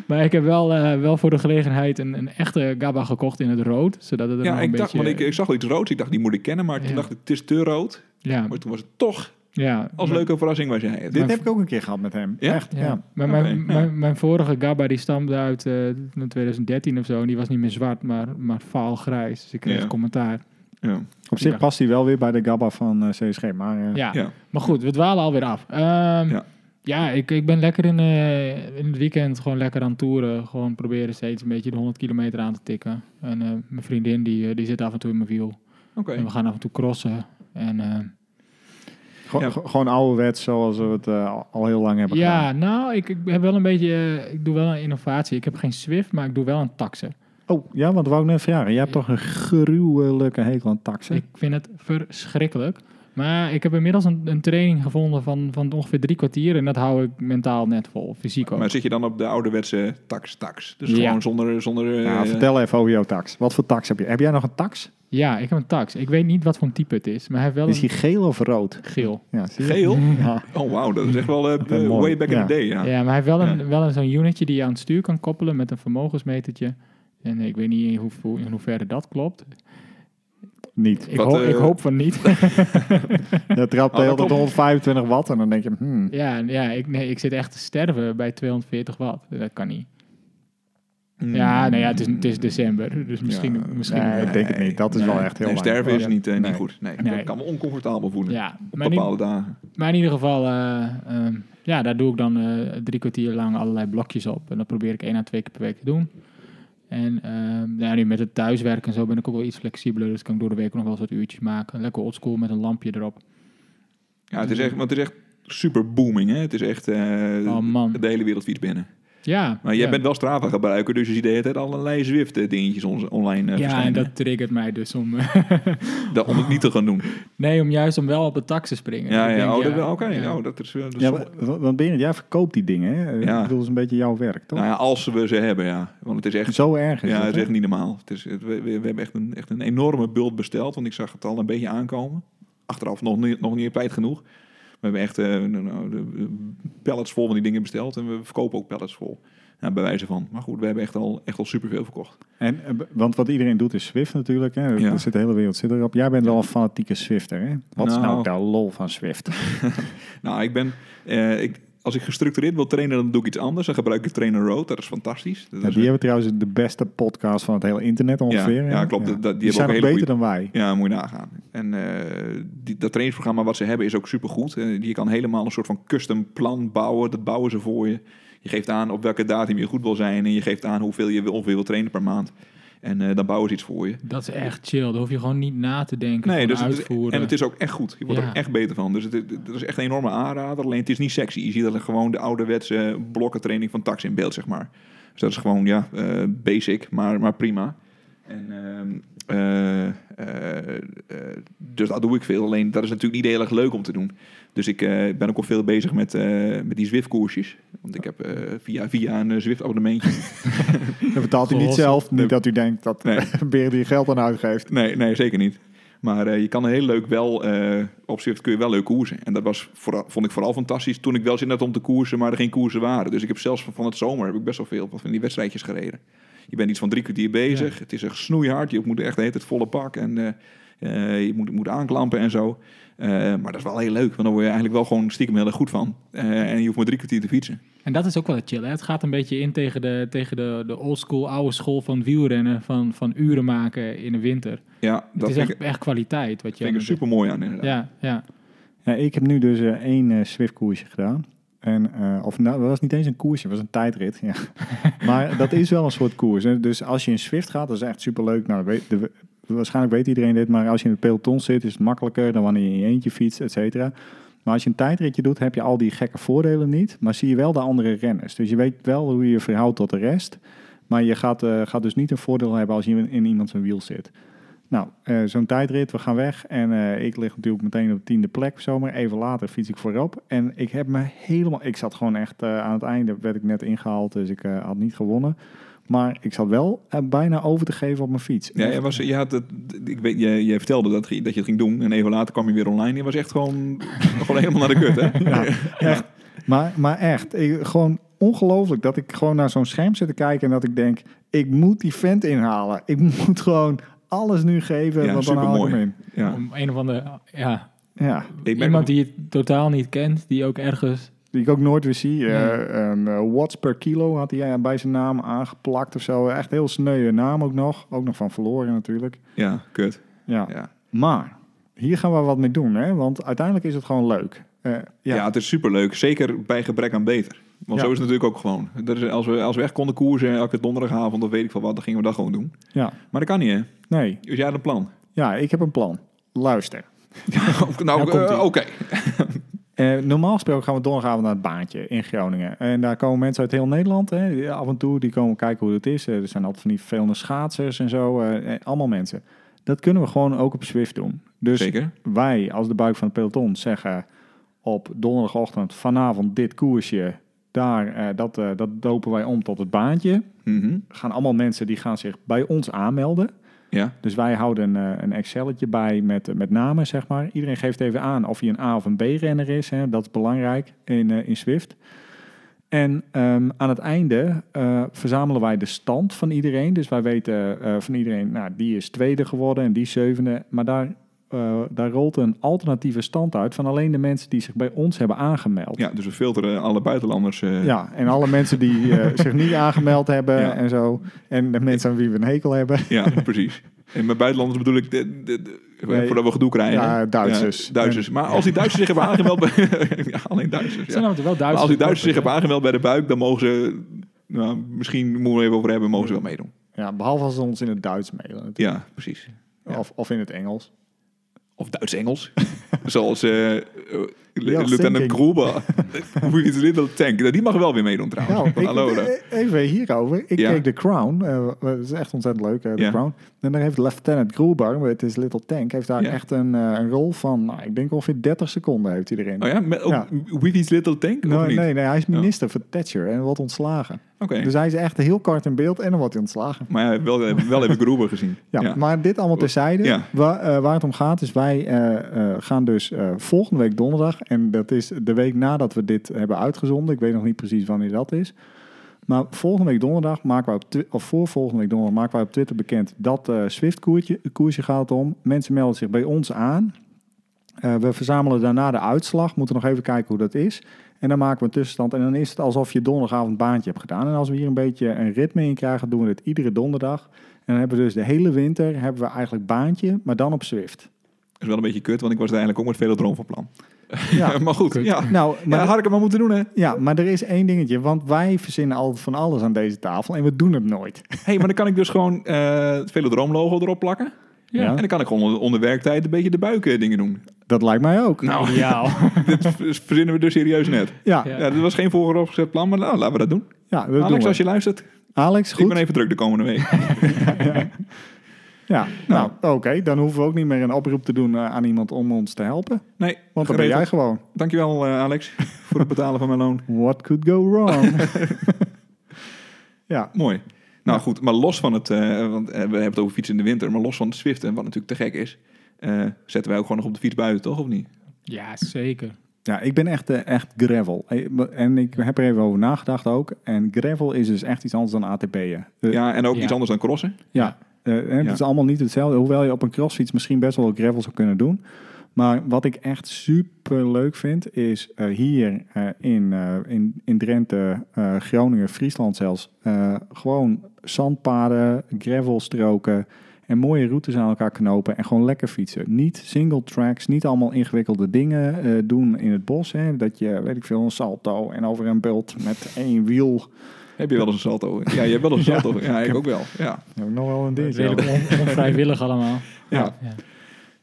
C: Maar ik heb wel, eh, wel voor de gelegenheid een, een echte gabba gekocht in het rood. Zodat het er
B: Ja,
C: nog een
B: ik dacht,
C: beetje...
B: want ik, ik zag al iets roods. Ik dacht, die moet ik kennen, maar toen
C: Ja.
B: dacht ik, het is te rood.
C: ja,
B: Maar toen was het toch,
C: ja.
B: als
C: Maar-
B: leuke verrassing was jij het.
A: Dit
C: Maar-
A: heb ik ook een keer gehad met hem.
B: Ja?
A: Echt,
C: Ja.
A: ja.
C: Maar
B: Oké,
C: mijn,
B: ja.
C: mijn, mijn vorige gabba die stamde uit eh, 2013 of zo. En die was niet meer zwart, maar, maar vaalgrijs. Dus ik kreeg
B: Ja.
C: commentaar.
B: Ja.
A: Op zich
C: Ja.
A: past hij wel weer bij de Gabba van eh, CSG. Maar eh,
C: Ja.
B: Ja.
C: maar goed, we dwalen alweer af. Ehm, ja,
B: Ja.
C: ik, ik ben lekker in, eh, in het weekend gewoon lekker aan toeren. Gewoon proberen steeds een beetje de 100 kilometer aan te tikken. En eh, mijn vriendin die, eh, die zit af en toe in mijn wiel.
B: Oké.
C: En we gaan af en toe crossen. En, eh,
A: Gewoon-
B: Ja.
A: gewoon ouderwets zoals we het eh, al- al heel lang hebben
C: ja,
A: gedaan.
C: nou, ik, ik heb wel een beetje... eh, ik doe wel een innovatie. Ik heb geen Swift, maar ik doe wel een taxe.
A: Oh, ja, want dat wou ik net vragen. Jij hebt toch een gruwelijke hekel aan taxen?
C: Ik vind het verschrikkelijk. Maar ik heb inmiddels een, een training gevonden van, van ongeveer drie kwartier. En dat hou ik mentaal net vol, fysiek ook.
B: Maar zit je dan op de ouderwetse tax-tax? Dus
C: Ja.
B: gewoon zonder... zonder eh,
A: Ja, Nou, vertel even over jouw tax. Wat voor tax heb je? Heb jij nog een tax?
C: Ja, ik heb een tax. Ik weet niet wat voor een type het is, maar hij heeft wel
A: Is
C: een
A: die geel of rood?
C: geel.
A: Ja, zie je?
B: Geel?
A: Ja.
B: Oh, wauw, dat is echt wel eh,
A: is
B: eh,
A: mooi.
B: way back in
A: Ja.
B: the day, ja.
C: Ja, maar hij heeft wel, een,
B: Ja.
C: wel een, zo'n unitje die je aan het stuur kan koppelen met een vermogensmetertje. En ik weet niet in, hoe, hoe- in hoeverre dat klopt.
A: Niet.
C: Ik,
B: Wat,
C: hoop-
B: eh,
C: ik hoop van niet.
A: Dat trapt
B: Oh,
A: de
B: dat
A: hele tijd
B: klopt.
A: 125 watt en dan denk je, hmm,
C: ja, ja ik, nee, ik zit echt te sterven bij 240 watt. Dat kan niet.
B: Mm.
C: Ja, nou ja, het is, het is december, dus misschien...
B: Ja,
C: misschien
A: nee, ik denk het niet. Dat is wel echt heel
B: nee,
A: lang.
B: sterven is
A: Ja.
B: niet, eh,
A: Nee.
B: niet goed. Nee,
C: Oh, Nee.
B: Dat kan me oncomfortabel voelen.
C: ja,
B: Op
C: maar niet,
B: bepaalde dagen.
C: Maar in ieder geval, eh, ehm, ja, daar doe ik dan eh, drie kwartier lang allerlei blokjes op. En dat probeer ik één à twee keer per week te doen. En ehm, ja, nu met het thuiswerken en zo ben ik ook wel iets flexibeler. Dus kan ik door de week nog wel eens wat uurtjes maken. Lekker oldschool met een lampje erop.
B: Ja, het is echt, want het is echt super booming, hè. Het is echt eh,
C: Oh, man.
B: de hele wereld fiets binnen.
C: Ja.
B: Maar jij
C: ja.
B: bent wel Strava gebruiker, dus je ziet de hele tijd allerlei Zwift-dingetjes online eh,
C: Ja, en
B: verschijnen.
C: dat triggert mij dus om...
B: Dat om het niet te gaan doen.
C: nee, om juist om wel op de tax te springen. Dus
B: Ja, ja,
C: Ik denk,
B: oh, dat wel, oké.
C: ja.
B: nou, dat is, eh, dat is
A: Ja,
B: wel-
A: wa- want Berend, jij verkoopt die dingen, hè? Eh,
B: Ja.
A: Ik bedoel, dat is een beetje jouw werk, toch?
B: nou ja, als we ze hebben, ja. Want het is echt
A: Zo erg is
B: Ja,
A: het,
B: het
A: hè?
B: is echt niet normaal. Het is, het- we, we we hebben echt een, echt een enorme bult besteld, want ik zag het al een beetje aankomen. Achteraf nog niet, nog niet kwijt genoeg. We hebben echt eh, nou, nou, de- de pallets vol van die dingen besteld en we verkopen ook pallets vol. Ja, bij wijze van. Maar goed, we hebben echt al, echt al superveel verkocht.
A: En, eh, b- want wat iedereen doet is Swift natuurlijk. Hè? Er
B: Ja.
A: zit de hele wereld zit erop. Jij bent wel een fanatieke Swifter. Hè? Wat is nou
B: Nou.
A: de lol van Swift?
B: Nou, ik ben... eh, ik, als ik gestructureerd wil trainen, dan doe ik iets anders. Dan gebruik ik Trainer Road. Dat is fantastisch. Dat
A: Ja,
B: is
A: die
B: een-
A: hebben trouwens de beste podcast van het hele internet ongeveer. hè?
B: ja, klopt. Dat- dat- die hebben
A: zijn
B: ook
A: nog
B: hele
A: beter dan wij.
B: Ja, moet je nagaan. En eh, die, dat trainingsprogramma wat ze hebben is ook supergoed. Eh, je kan helemaal een soort van custom plan bouwen. Dat bouwen ze voor je. Je geeft aan op welke datum je goed wil zijn. En je geeft aan hoeveel je wil, ongeveer wil trainen per maand. En eh, dan bouwen ze iets voor je.
C: Dat is echt chill. Daar hoef je gewoon niet na te denken.
B: Nee,
C: van
B: dus het is-
C: uitvoeren.
B: en het is ook echt goed. Je wordt
C: Ja.
B: er echt beter van. Dus het, het- dat is echt een enorme aanrader. Alleen het is niet sexy. Je ziet dat er gewoon de ouderwetse blokkentraining van tax in beeld, zeg maar. Dus dat is gewoon, ja, eh, basic, maar, maar prima. En, ehm, eh, eh, eh, dus dat doe ik veel. Alleen dat is natuurlijk niet heel erg leuk om te doen. Dus ik eh, ben ook al veel bezig met, eh, met die Zwift-koersjes. Want ik heb eh, via, via een eh, Zwift-abonnementje.
A: Dat betaalt hij niet
C: Zoals-
A: zelf. Niet dat u denkt dat
B: Nee.
A: Berend hier geld aan uitgeeft.
B: Nee, nee, zeker niet. Maar eh, je kan heel leuk wel, eh op Zwift kun je wel leuk koersen. En dat was vooral, vond ik vooral fantastisch toen ik wel zin had om te koersen, maar er geen koersen waren. Dus ik heb zelfs van, van het zomer heb ik best wel veel van die wedstrijdjes gereden. Je bent iets van drie kwartier bezig. Het is echt snoeihard. Je moet echt de hele tijd volle pak. En eh, eh, je moet, moet aanklampen en zo. Eh, maar dat is wel heel leuk. Want dan word je eigenlijk wel gewoon stiekem heel erg goed van. Eh, en je hoeft maar drie kwartier te fietsen.
C: En dat is ook wel het chill. Hè? Het gaat een beetje in tegen de, tegen de, de oldschool, oude school van wielrennen. Van, van uren maken in de winter.
B: Ja,
C: Het
B: dat
C: is
B: vind
C: echt,
B: ik,
C: echt kwaliteit. Wat je
B: vind ik er super mooi aan inderdaad.
C: Ja, ja.
A: Ja, ik heb nu dus eh, één eh Zwift-koersje gedaan. En, eh, of nou, dat was niet eens een koersje, het was een tijdrit. Ja. maar dat is wel een soort koers. hè. Dus als je in Zwift gaat, dat is echt superleuk. Nou, dat weet, de- waarschijnlijk weet iedereen dit, maar als je in het peloton zit, is het makkelijker dan wanneer je in je eentje fietst, et cetera. Maar als je een tijdritje doet, heb je al die gekke voordelen niet. Maar zie je wel de andere renners. Dus je weet wel hoe je je verhoudt tot de rest. Maar je gaat, eh, gaat dus niet een voordeel hebben als je in, in iemand zijn wiel zit. Nou, eh, zo'n tijdrit, we gaan weg. En eh, ik lig natuurlijk meteen op de tiende plek. Zomaar even later fiets ik voorop. En ik heb me helemaal... Ik zat gewoon echt eh, aan het einde, werd ik net ingehaald. Dus ik eh, had niet gewonnen. Maar ik zat wel eh, bijna over te geven op mijn fiets. Dus
B: Ja, jij, was, je, had het, ik weet, jij, jij vertelde dat, je- dat je het ging doen en even later kwam je weer online. Je was echt gewoon, gewoon helemaal naar de kut, hè?
A: Ja, echt. Maar, maar echt, ik- gewoon ongelooflijk dat ik gewoon naar zo'n scherm zit te kijken en dat ik denk, ik moet die vent inhalen. Ik moet gewoon alles nu geven,
B: Ja,
A: want dan haal ik hem
B: supermooi.
A: in.
B: Ja.
C: Om een of andere... Ja,
A: Ja,
B: Ik merk
C: iemand
B: nog-
C: die het totaal niet kent. Die ook ergens...
A: die ik ook nooit weer zie.
C: Nee.
A: Eh, ehm, eh, watts per kilo had hij eh, bij zijn naam aangeplakt of zo. Echt heel sneuwe naam ook nog. Ook nog van verloren natuurlijk.
B: Ja, kut.
A: Ja.
B: Ja.
A: Maar, hier gaan we wat mee doen, hè? want uiteindelijk is het gewoon leuk. Eh,
B: Ja. het is superleuk. Zeker bij gebrek aan beter. Want
A: Ja.
B: zo is het natuurlijk ook gewoon. Dat is, als, we, als we echt konden koersen elke donderdagavond of weet ik veel wat, dan gingen we dat gewoon doen.
A: ja.
B: Maar dat kan niet, hè?
A: Nee,
B: Dus jij had een plan.
A: ja, ik heb een plan. Luister.
B: nou,
C: komt-ie.
B: eh, oké.
A: Eh, normaal gesproken gaan we donderdagavond naar het baantje in Groningen. En daar komen mensen uit heel Nederland. Hè, die eh, af en toe die komen kijken hoe het is. Eh, er zijn altijd van die vervelende schaatsers en zo. eh, eh, allemaal mensen. Dat kunnen we gewoon ook op Zwift doen. Dus
B: Zeker.
A: wij als de buik van het peloton zeggen op donderdagochtend vanavond dit koersje. Daar, eh, dat, eh, dat dopen wij om tot het baantje.
B: Mhm.
A: Gaan allemaal mensen die gaan zich bij ons aanmelden.
B: Ja,
A: Dus wij houden een, eh, een Excelletje bij met, eh, met namen, zeg maar. Iedereen geeft even aan of hij een A of een B-renner is. Hè. Dat is belangrijk in, eh, in Swift. En ehm, aan het einde eh, verzamelen wij de stand van iedereen. Dus wij weten eh, van iedereen, nou, die is tweede geworden en die zevende. Maar daar, eh, daar rolt een alternatieve stand uit van alleen de mensen die zich bij ons hebben aangemeld.
B: ja, dus we filteren alle buitenlanders. eh,
A: Ja, en alle mensen die eh, zich niet aangemeld hebben
B: Ja.
A: en zo. En de mensen aan wie we een hekel hebben.
B: Ja, precies. En met buitenlanders bedoel ik, de, de, de-
A: Nee.
B: voordat we gedoe krijgen.
A: Ja, Duitsers.
B: Ja, Duitsers. Maar als die Duitsers zich hebben aangemeld, bij- ja, alleen Duitsers. Ja.
C: Zijn
B: Maar
C: er wel Duitsers?
B: als die Duitsers zich
C: hè?
B: hebben aangemeld bij de buik, dan mogen ze, nou, misschien moeten we er even over hebben, mogen ze wel meedoen.
A: Ja, behalve als ze ons in het Duits mailen. natuurlijk.
B: Ja, precies. Ja.
A: Of, of in het Engels.
B: Of Duits-Engels. Zoals eh eh,
A: thinking.
B: Lieutenant Gruber. With his little tank. Nou, Die mag wel weer meedoen trouwens.
A: Nou,
B: Van
A: ik,
B: Alora.
A: eh, even hierover. Ik
B: Ja.
A: keek The Crown. eh, dat is echt ontzettend leuk, eh, The
B: Ja.
A: Crown. En daar heeft Lieutenant Gruber, met his little tank, heeft daar
B: Ja.
A: echt een, eh, een rol van, nou, ik denk ongeveer 30 seconden heeft hij erin.
B: oh ja, met, ook
A: Ja.
B: with his little tank? of
A: nee,
B: niet? Oh.
A: nee, nee, hij is minister voor Thatcher en wordt ontslagen.
B: Oké.
A: Dus hij is echt heel kort in beeld en dan wordt hij ontslagen.
B: Maar ja, wel, wel even Gruber gezien.
A: Ja, maar dit allemaal terzijde.
B: Ja.
A: Waar, eh, waar het om gaat is, wij eh, eh, gaan dus eh, volgende week donderdag... en dat is de week nadat we dit hebben uitgezonden. Ik weet nog niet precies wanneer dat is. Maar volgende week donderdag maken wij op Twi- of voor volgende week donderdag maken wij op Twitter bekend dat eh Swift koertje, koersje gaat het om. Mensen melden zich bij ons aan. Eh, we verzamelen daarna de uitslag. Moeten nog even kijken hoe dat is. En dan maken we een tussenstand. En dan is het alsof je donderdagavond baantje hebt gedaan. En als we hier een beetje een ritme in krijgen, doen we dit iedere donderdag. En dan hebben we dus de hele winter hebben we eigenlijk baantje, maar dan op Swift.
B: Dat is wel een beetje kut, want ik was er eigenlijk ook met Velodroom van plan.
A: Ja.
B: maar goed,
C: Kut.
B: ja. Maar,
A: Nou, maar
B: ja, had ik het maar moeten doen, hè.
A: Ja, maar er is één dingetje, want wij verzinnen altijd van alles aan deze tafel en we doen het nooit.
B: hey, maar dan kan ik dus gewoon eh het Velodroom-logo erop plakken.
C: Ja.
B: En dan kan ik gewoon onder, onder werktijd een beetje de buiken dingen doen.
A: Dat lijkt mij ook.
B: Nou,
C: Ideaal.
B: dit verzinnen we dus serieus net.
A: ja,
C: Ja.
A: ja,
B: Ja, dit was geen vooropgezet plan, maar nou, laten we dat doen.
A: dat doen
B: Alex,
A: we.
B: als je luistert,
A: Alex,
B: ik
A: goed.
B: ben even druk de komende week.
A: Ja, nou, oké, dan hoeven we ook niet meer een oproep te doen eh, aan iemand om ons te helpen.
B: Nee,
A: Want dan ben jij
B: geregeld.
A: gewoon.
B: Dankjewel, eh, Alex, voor het betalen van mijn loon.
A: What could go wrong? ja,
B: Mooi. Nou goed, maar los van het, eh, want eh, we hebben het over fietsen in de winter, maar los van het Zwift, en wat natuurlijk te gek is, eh, zetten wij ook gewoon nog op de fiets buiten, toch of niet?
C: Ja, zeker.
A: Ja, ik ben echt, eh, echt gravel. Eh, En ik heb er even over nagedacht ook. En gravel is dus echt iets anders dan ATP'en. Eh,
B: Ja, en ook
C: Ja.
B: iets anders dan crossen.
A: Ja, eh, en het
B: Ja.
A: is allemaal niet hetzelfde. Hoewel je op een crossfiets misschien best wel gravel zou kunnen doen. Maar wat ik echt super leuk vind, is eh, hier eh, in, eh, in, in Drenthe, eh, Groningen, Friesland zelfs, eh, gewoon zandpaden, gravelstroken en mooie routes aan elkaar knopen en gewoon lekker fietsen. Niet single tracks, niet allemaal ingewikkelde dingen eh, doen in het bos. Hè, dat je, weet ik veel, een salto en over een bult met één wiel.
B: Heb je wel eens een salto? Ja, je hebt wel eens een salto. Ja, ik ook wel. Ja.
A: Heb ik nog wel een
C: Het is
A: dingetje.
C: redelijk on- onvrijwillig allemaal.
B: Ja.
C: Ja.
B: Maar,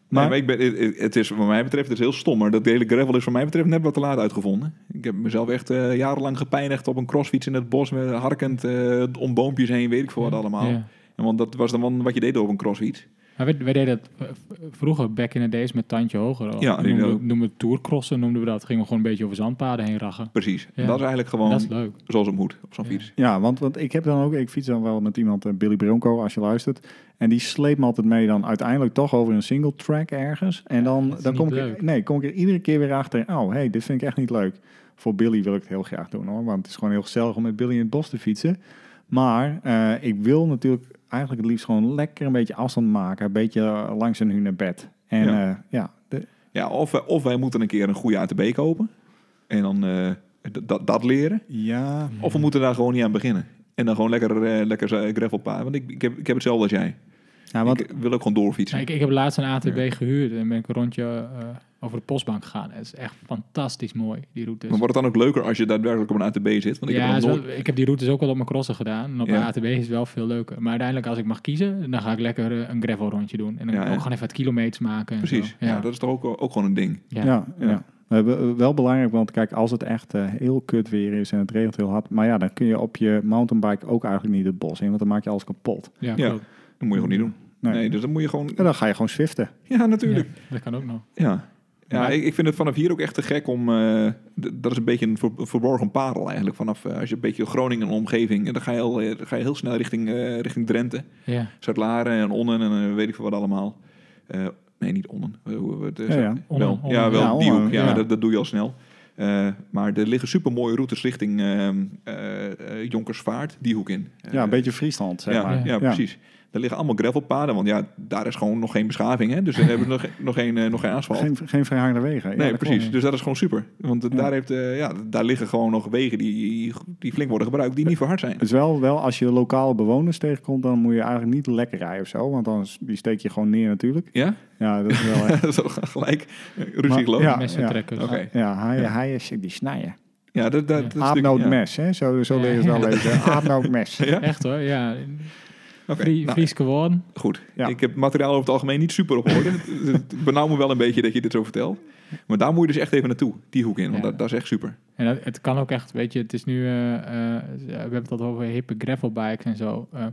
A: Maar-
B: maar ik ben, het- het- het is wat mij betreft het is heel stom, maar dat hele gravel is wat mij betreft net wat te laat uitgevonden. Ik heb mezelf echt eh, jarenlang gepijnigd op een crossfiets in het bos, met harkend eh, om boompjes heen, weet ik veel wat allemaal.
C: Ja.
B: En want dat was dan wat je deed op een crossfiets.
C: Maar wij, wij deden dat eh, v- vroeger, back in the days, met tandje hoger. al.
B: Ja, ik
C: noemden,
B: ook.
C: we- noemden we tourcrossen, noemden we dat. Gingen we gewoon een beetje over zandpaden heen raggen.
B: Precies.
C: Ja.
B: En Dat is eigenlijk
C: Dat is
B: gewoon
C: leuk.
B: zoals het moet op zo'n
C: Ja.
B: fiets.
A: Ja, want, want ik heb dan ook, ik fiets dan wel met iemand, eh, Billy Bronco, als je luistert. En die sleept me altijd mee dan uiteindelijk toch over een single track ergens. En
C: Ja,
A: dan,
C: dat is
A: dan
C: niet
A: kom, ik
C: leuk.
A: er, nee, kom ik er iedere keer weer achter. Oh, hey, dit vind ik echt niet leuk. Voor Billy wil ik het heel graag doen hoor. Want het is gewoon heel gezellig om met Billy in het bos te fietsen. Maar eh, ik wil natuurlijk eigenlijk het liefst gewoon lekker een beetje afstand maken. Een beetje eh, langs een hunebed. En
B: Ja.
A: ja, ja de-
B: Ja, of, wij- of wij moeten een keer een goede ATB kopen en dan eh, d- dat- dat leren.
A: ja,
B: Of we moeten daar gewoon niet aan beginnen. En dan gewoon lekker, eh lekker z- gravelpaden. Want ik, ik, heb, ik heb hetzelfde als jij.
A: ja, want
B: ik eh, wil ook gewoon doorfietsen.
C: Ja, ik, ik heb laatst een ATB gehuurd en ben ik een rondje eh, over de postbank gegaan. Het is echt fantastisch mooi, die routes.
B: Maar wordt het dan ook leuker als je daadwerkelijk op een ATB zit? Want ik
C: ja,
B: heb
C: is
B: nog
C: wel-
B: nooit...
C: ik heb die routes ook wel op mijn crossen gedaan. En op
B: Ja.
C: de ATB is het wel veel leuker. Maar uiteindelijk, als ik mag kiezen, dan ga ik lekker eh, een gravel rondje doen. En dan
B: Ja,
C: ook
B: en-
C: gewoon even wat kilometers maken. en
B: Precies.
C: zo.
B: Ja.
C: Ja.
B: dat is toch ook, ook gewoon een ding.
C: Ja.
A: Ja,
B: Ja.
A: ja. Eh, we- wel belangrijk, want kijk, als het echt eh, heel kut weer is en het regent heel hard, maar ja, dan kun je op je mountainbike ook eigenlijk niet het bos in, want dan maak je alles kapot.
C: Ja,
B: Ja.
C: klopt.
B: Dat moet je gewoon niet doen. Nee,
A: Nee.
B: dus dan moet je gewoon...
A: En dan ga je gewoon swiften.
B: Ja, natuurlijk.
C: Ja, dat kan ook nog.
B: Ja. ja.
C: Maar-
B: ik, ik vind het vanaf hier ook echt te gek om... eh, d- dat is een beetje een ver- verborgen parel eigenlijk. Vanaf eh, als je een beetje Groningen en omgeving... en dan ga je, al, eh, dan ga je heel snel richting, eh, richting Drenthe.
C: Ja.
B: Zuid-Laren en Onnen en eh, weet ik veel wat allemaal. Eh, nee, niet Onnen. Eh, hoe- hoe- het is-
A: Ja, ja.
C: Onnen,
B: wel,
C: Onnen.
B: ja, wel
A: Ja,
B: die
A: Onnen,
B: hoek. Ja,
A: ja.
B: maar Dat, dat doe je al snel. Eh, maar er liggen super mooie routes richting ehm, eh, eh, Jonkersvaart, die hoek in. Eh,
A: Ja, een beetje Friesland, zeg
B: ja,
A: maar.
B: ja, precies. Daar liggen allemaal gravelpaden, want ja, daar is gewoon nog geen beschaving, hè? Dus daar hebben we nog, geen- nog, geen, eh, nog geen asfalt.
A: Geen, geen verhangende wegen. Ja,
B: nee,
A: dat
B: precies.
A: klopt.
B: Dus dat is gewoon super. Want eh,
A: Ja.
B: daar, heeft, eh, ja, daar liggen gewoon nog wegen die, die flink worden gebruikt, die niet verhard zijn.
A: Dus wel, wel, als je lokale bewoners tegenkomt, dan moet je eigenlijk niet lekker rijden of zo, want dan s- die steek je gewoon neer natuurlijk.
B: Ja?
A: Ja, dat is wel echt.
B: dat is ook gelijk eh,
A: Maar-
B: ruzie gelopen.
A: ja,
C: Messen
A: ja.
C: trekken.
B: Oké.
A: Ja, haaien, haaien, shit, die snijden.
B: Ja, dat, dat, dat is natuurlijk- ja.
A: Aapnootmes, hè? Zo, zo
C: Ja.
A: leer je nou het wel
C: Ja.
A: lezen. Aapnootmes.
B: Ja?
C: Echt hoor, ja.
B: Oké,
C: Vri-
B: nou,
C: Fries geworden.
B: goed.
A: Ja.
B: Ik heb materiaal over het algemeen niet super op orde. Het- het benauwt me wel een beetje dat je dit zo vertelt. Maar daar moet je dus echt even naartoe, die hoek in. Want
C: Ja.
B: dat, dat is echt super.
C: En dat- het kan ook echt, weet je, het is nu, eh, eh, we hebben het al over hippe gravelbikes en zo. Eh,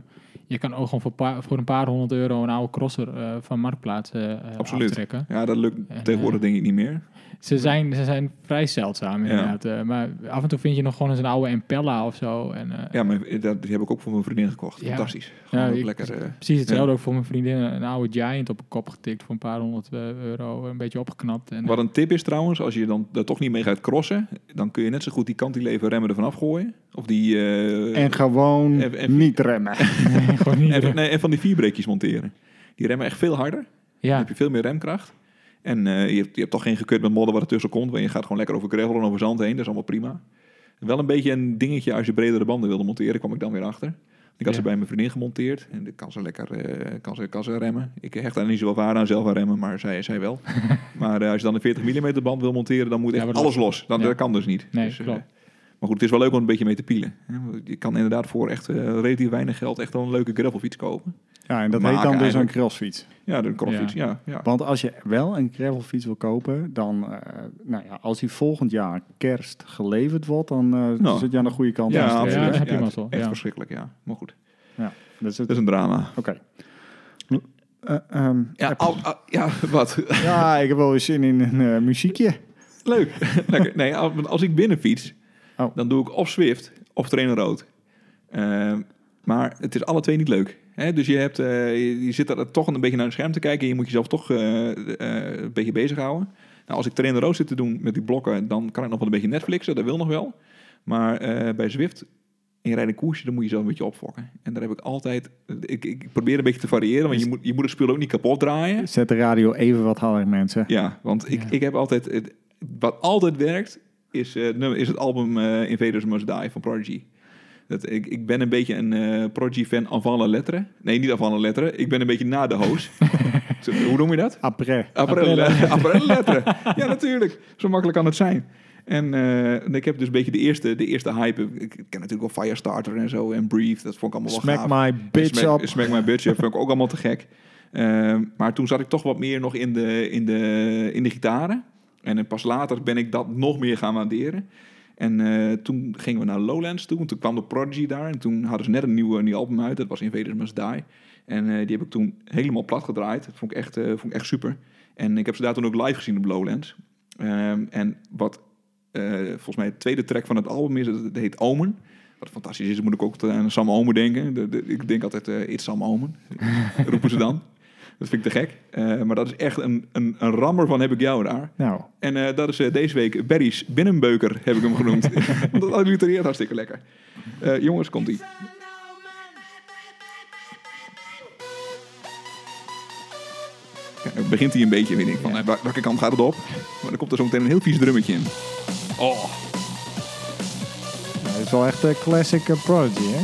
C: je kan ook gewoon voor, pa- voor een paar honderd euro een oude crosser eh, van Marktplaats eh, eh,
B: Absoluut.
C: aftrekken.
B: Ja, dat lukt
C: En,
B: tegenwoordig denk ik niet meer.
C: Ze zijn, ze zijn vrij zeldzaam inderdaad. eh, maar af en toe vind je nog gewoon eens een oude Impella of zo. En, eh,
B: Ja, maar dat, die heb ik ook voor mijn vriendin gekocht.
C: Ja.
B: Fantastisch. Gewoon ook
C: ik-
B: lekker... eh,
C: Precies hetzelfde
B: Ja.
C: ook voor mijn vriendin. Een oude Giant op een kop getikt voor een paar honderd eh, euro. Een beetje opgeknapt. En,
B: wat een tip is trouwens, als je dan daar toch niet mee gaat crossen... dan kun je net zo goed die kantilever remmen ervan afgooien. Of die... eh,
A: En gewoon
B: Even- even-
A: niet remmen.
C: Nee, gewoon niet
B: en,
C: druk.
B: nee, en van die vierbreekjes monteren. Die remmen echt veel harder.
C: ja,
B: Dan heb je veel meer remkracht. En eh, je, hebt, je hebt toch geen gekut met modder wat ertussen komt. Want je gaat gewoon lekker over gravel en over zand heen. Dat is allemaal prima. Wel een beetje een dingetje als je bredere banden wilde monteren. kwam ik dan weer achter. Ik had ze
C: Ja.
B: bij mijn vriendin gemonteerd. En dan kan ze lekker eh, kan ze, kan ze remmen. Ik hecht daar niet zoveel waarde aan zelf aan remmen. Maar zij, zij wel. maar eh, als je dan een 40 mm band wil monteren. Dan moet
C: Ja,
B: echt
C: wordt
B: alles los. Dan,
C: Ja.
B: Dat kan dus niet.
C: Nee,
B: Dus, eh,
C: klopt.
B: maar goed, het is wel leuk om een beetje mee te pielen. Je kan inderdaad voor echt eh, relatief weinig geld echt wel een leuke gravelfiets kopen.
A: Ja, en dat
B: Maken
A: heet dan dus een
B: eigenlijk.
A: crossfiets.
B: Ja, de crossfiets. Ja. Ja, ja.
A: Want als je wel een gravelfiets wil kopen, dan, eh, nou ja, als die volgend jaar kerst geleverd wordt, dan eh,
B: Nou.
A: zit je aan de goede kant. Dus
B: Ja,
A: Dan is het-
B: absoluut.
C: Ja, heb je
B: het-
C: mazzel,
B: Echt
C: ja.
B: verschrikkelijk, ja. Maar goed,
A: Dat is het.
B: dat is een drama.
A: Oké. Eh, ehm,
B: Ja, al, al- ja wat?
A: ja, ik heb wel eens zin in een eh, muziekje.
B: Leuk. Lekker. Nee, al- want als ik binnen fiets,
A: Oh.
B: dan doe ik of Swift of Trainer Rood. Ehm, maar het is alle twee niet leuk. Hè? Dus je, hebt, eh, je, je zit er toch een beetje naar het scherm te kijken. Je moet jezelf toch eh, eh, een beetje bezighouden. Nou, als ik train de road zit te doen met die blokken, dan kan ik nog wel een beetje Netflixen. Dat wil nog wel. Maar eh, bij Zwift, in rijden koersje, dan moet je zelf een beetje opfokken. En daar heb ik altijd... Ik, ik probeer een beetje te variëren, want je moet, je moet het spul ook niet kapot draaien.
A: Zet de radio even wat harder, mensen.
B: Ja, want ik,
C: Ja.
B: ik heb altijd... Het, wat altijd werkt, is, eh, het nummer- is het album eh, Invaders Must Die van Prodigy. Dat, ik, ik ben een beetje een eh Prodigy-fan avant la lettre. Nee, niet avant la lettre. Ik ben een beetje na de hoos. Zo, Hoe noem je dat?
A: Après.
B: April, eh, april letteren. ja, natuurlijk. Zo makkelijk kan het zijn. En eh, ik heb dus een beetje de eerste, de eerste hype. Ik ken natuurlijk wel Firestarter en zo en Brief. Dat vond ik allemaal wel
A: Smack
B: gaaf.
A: my bitch
B: Smack,
A: up.
B: Smack My Bitch Up vond ik ook allemaal te gek. Ehm, maar toen zat ik toch wat meer nog in de, in de, in de gitaren. En eh, pas later ben ik dat nog meer gaan waarderen. En eh, toen gingen we naar Lowlands toe. En Toen kwam de Prodigy daar. En toen hadden ze net een nieuw, een nieuw album uit. Dat was Invaders Must Die. En eh, die heb ik toen helemaal plat gedraaid. Dat vond ik echt, eh, vond ik echt super. En ik heb ze daar toen ook live gezien op Lowlands. Ehm, en wat eh, volgens mij het tweede track van het album is, dat het heet Omen. Wat fantastisch is, dan moet ik ook aan Sam Omen denken. De- de- ik denk altijd, eh it's Sam Omen, roepen ze dan. Dat vind ik te gek. Eh, maar dat is echt een, een, een rammer van heb ik jou daar.
A: Nou,
B: En eh, dat is eh, deze week Berry's Binnenbeuker, heb ik hem genoemd. Want dat allitereert hartstikke lekker. Eh, jongens, komt-ie. Ja, dan begint hij een beetje, weet ik. Van, eh, wel- welke kant gaat het op? Maar dan komt er zo meteen een heel vies drummetje in. Oh.
A: dat is wel echt een classic eh, Prodigy, hè?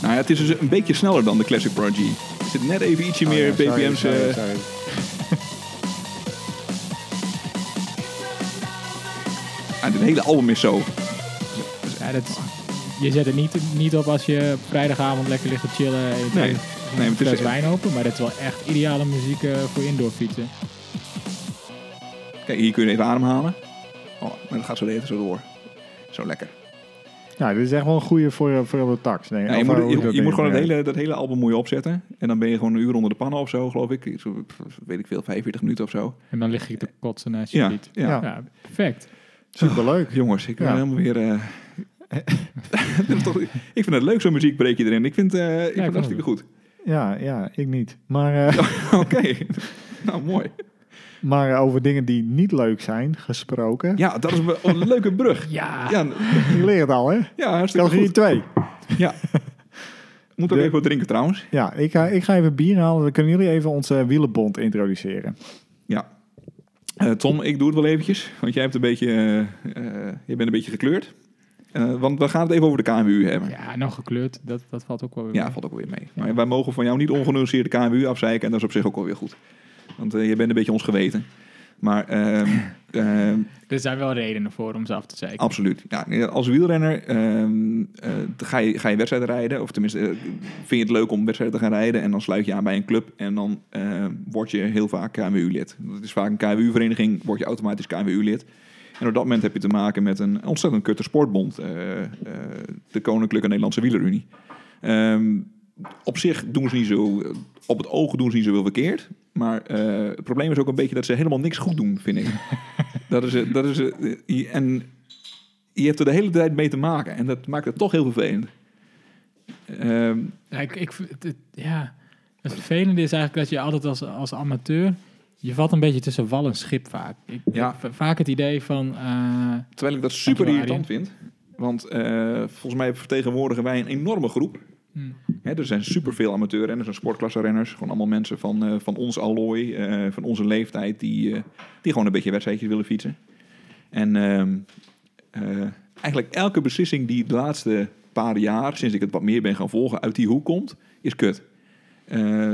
B: Nou ja, het is dus een beetje sneller dan de Classic Prodigy. Er zit net even ietsje meer
A: Oh ja, sorry,
B: BPM's.
A: sorry,
B: eh,
A: sorry.
B: ah, dit hele album is zo.
C: Ja, dat is- je zet het niet, niet op als je op vrijdagavond lekker ligt te chillen. en je
B: Nee,
C: drinkt
B: nee
C: een
B: maar het
C: fles
B: is,
C: wijn open, maar dat is wel echt ideale muziek eh, voor indoor fietsen.
B: kijk, hier kun je even ademhalen. Oh, maar dat gaat zo de hele tijd zo door. Zo lekker.
A: Ja, dit is echt wel een goede voor, eh, voor op de tax. Nee,
B: Ja, Nou, je
A: of,
B: moet,
A: eh, hoe
B: je,
A: dat
B: je
A: ding
B: moet gewoon
A: ook
B: het
A: weer
B: hele, dat hele album moet je opzetten. En dan ben je gewoon een uur onder de pannen of zo, geloof ik. Zo, pff, weet ik veel, 45 minuten of zo.
C: En dan lig ik te kotsen naast je
B: Ja,
C: fiets.
B: ja.
A: Ja.
C: Ja, perfect.
A: heet. Superleuk.
B: Jongens, ik ben
A: Ja.
B: helemaal weer... eh, dit is toch- ik vind het leuk, zo'n muziekbreekje erin. Ik vind, eh, ik vind
C: ik
B: het hartstikke goed.
A: Ja, ja, ik niet. Maar, eh,
B: Oké, nou mooi.
A: maar eh, over dingen die niet leuk zijn gesproken.
B: Ja, dat is een, een leuke brug.
C: Ja,
B: Ja,
A: Je leert het al, hè?
B: ja hartstikke
A: Categorie
B: goed.
A: 2.
B: Ja. Moet ook
A: De-
B: even wat drinken trouwens.
A: Ja, ik ga, ik ga even bier halen. Dan kunnen jullie even onze eh, wielenbond introduceren.
B: Ja. Eh, Tom, ik doe het wel eventjes, want jij hebt een beetje, eh, eh, je bent een beetje gekleurd. Eh, want we gaan het even over de KMU hebben. Ja,
C: ja nou gekleurd, dat, dat valt ook wel weer mee.
B: valt ook wel weer mee. Maar wij mogen van jou niet ongenuanceerd de KMU afzeiken en dat is op zich ook wel weer goed. Want eh, je bent een beetje ons geweten. Maar ehm, ehm,
C: Er zijn wel redenen voor om ze af te zeiken.
B: Absoluut. Ja, nee, als wielrenner ehm, eh, ga, je, ga je wedstrijden rijden. Of tenminste, eh, vind je het leuk om wedstrijden te gaan rijden. En dan sluit je aan bij een club. En dan eh, word je heel vaak KMU-lid. Dat is vaak een KMU-vereniging, word je automatisch KMU-lid. En op dat moment heb je te maken met een ontzettend kutte sportbond. eh, eh, de Koninklijke Nederlandse Wielerunie. Ehm, op zich doen ze niet zo... Op het oog doen ze niet zoveel verkeerd. Maar eh, het probleem is ook een beetje dat ze helemaal niks goed doen, vind ik. dat is... eh, Dat is eh, je- en je hebt er de hele tijd mee te maken. En dat maakt het toch heel vervelend. Ehm,
C: Ja, ik, ik, vind het, het- ja. het vervelende is eigenlijk dat je altijd als, als amateur... Je valt een beetje tussen wal en schip vaak. Ik,
B: Ja.
C: ik heb vaak het idee van... eh,
B: terwijl ik dat super
C: Dankjewel,
B: irritant vind. Want eh, volgens mij vertegenwoordigen wij een enorme groep.
C: Hmm.
B: Hè, er zijn superveel amateurrenners en sportklasserenners. Gewoon allemaal mensen van, eh, van ons allooi, eh, van onze leeftijd... Die, eh, die gewoon een beetje wedstrijdjes willen fietsen. En ehm, eh, eigenlijk elke beslissing die de laatste paar jaar... sinds ik het wat meer ben gaan volgen, uit die hoek komt, is kut. Eh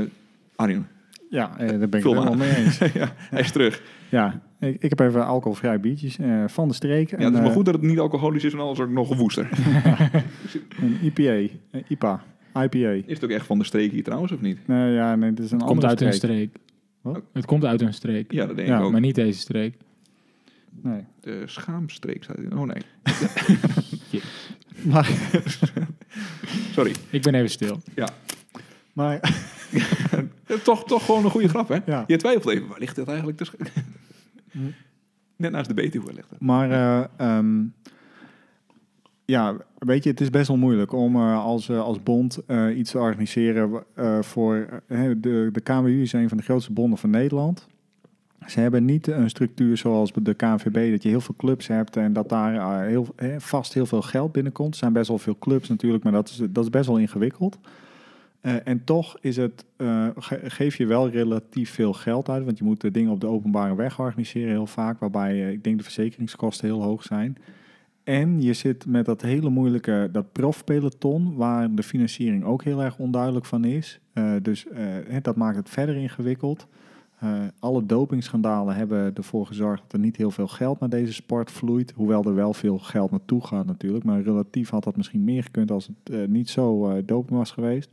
B: Arjen,
A: Ja, eh, daar ben ik
B: Vul
A: het helemaal
B: aan.
A: mee eens.
B: ja, hij is terug.
A: Ja, ik, ik heb even alcoholvrij biertjes eh, van de streek.
B: Ja,
A: een,
B: het is maar
A: eh,
B: goed dat het niet alcoholisch is, want anders wordt het nog gewoester.
A: Een IPA. Een IPA. IPA.
B: Is het ook echt van de streek hier trouwens, of niet?
A: Nee, ja, nee, dit is een
C: het komt
A: andere
C: uit een
A: streek.
C: streek.
A: Wat?
C: Het komt uit een streek.
B: Ja, dat denk
A: Ja,
B: ik ook.
C: Maar niet deze streek.
A: Nee.
B: De schaamstreek staat hier. Oh nee,
A: Maar,
B: sorry.
C: Ik ben even stil.
A: maar
B: Eh, Toch, toch gewoon een goede grap, hè?
A: Ja.
B: Je twijfelt even, waar ligt dit eigenlijk? De sch-
A: Hm.
B: Net naast de Betuwe ligt het.
A: Maar eh, ehm, ja, weet je, het is best wel moeilijk om eh, als, eh, als bond eh, iets te organiseren eh, voor eh, de, de KMU is een van de grootste bonden van Nederland. Ze hebben niet een structuur zoals de KNVB, dat je heel veel clubs hebt en dat daar eh, heel, eh, vast heel veel geld binnenkomt. Er zijn best wel veel clubs natuurlijk, maar dat is, dat is best wel ingewikkeld. Eh, en toch is het, eh, ge- geef je wel relatief veel geld uit, want je moet de dingen op de openbare weg organiseren heel vaak, waarbij eh, ik denk de verzekeringskosten heel hoog zijn. En je zit met dat hele moeilijke, dat profpeloton, waar de financiering ook heel erg onduidelijk van is. Eh, dus eh, hè, dat maakt het verder ingewikkeld. Eh, alle dopingschandalen hebben ervoor gezorgd dat er niet heel veel geld naar deze sport vloeit. Hoewel er wel veel geld naartoe gaat natuurlijk. Maar relatief had dat misschien meer gekund als het eh, niet zo eh, doping was geweest.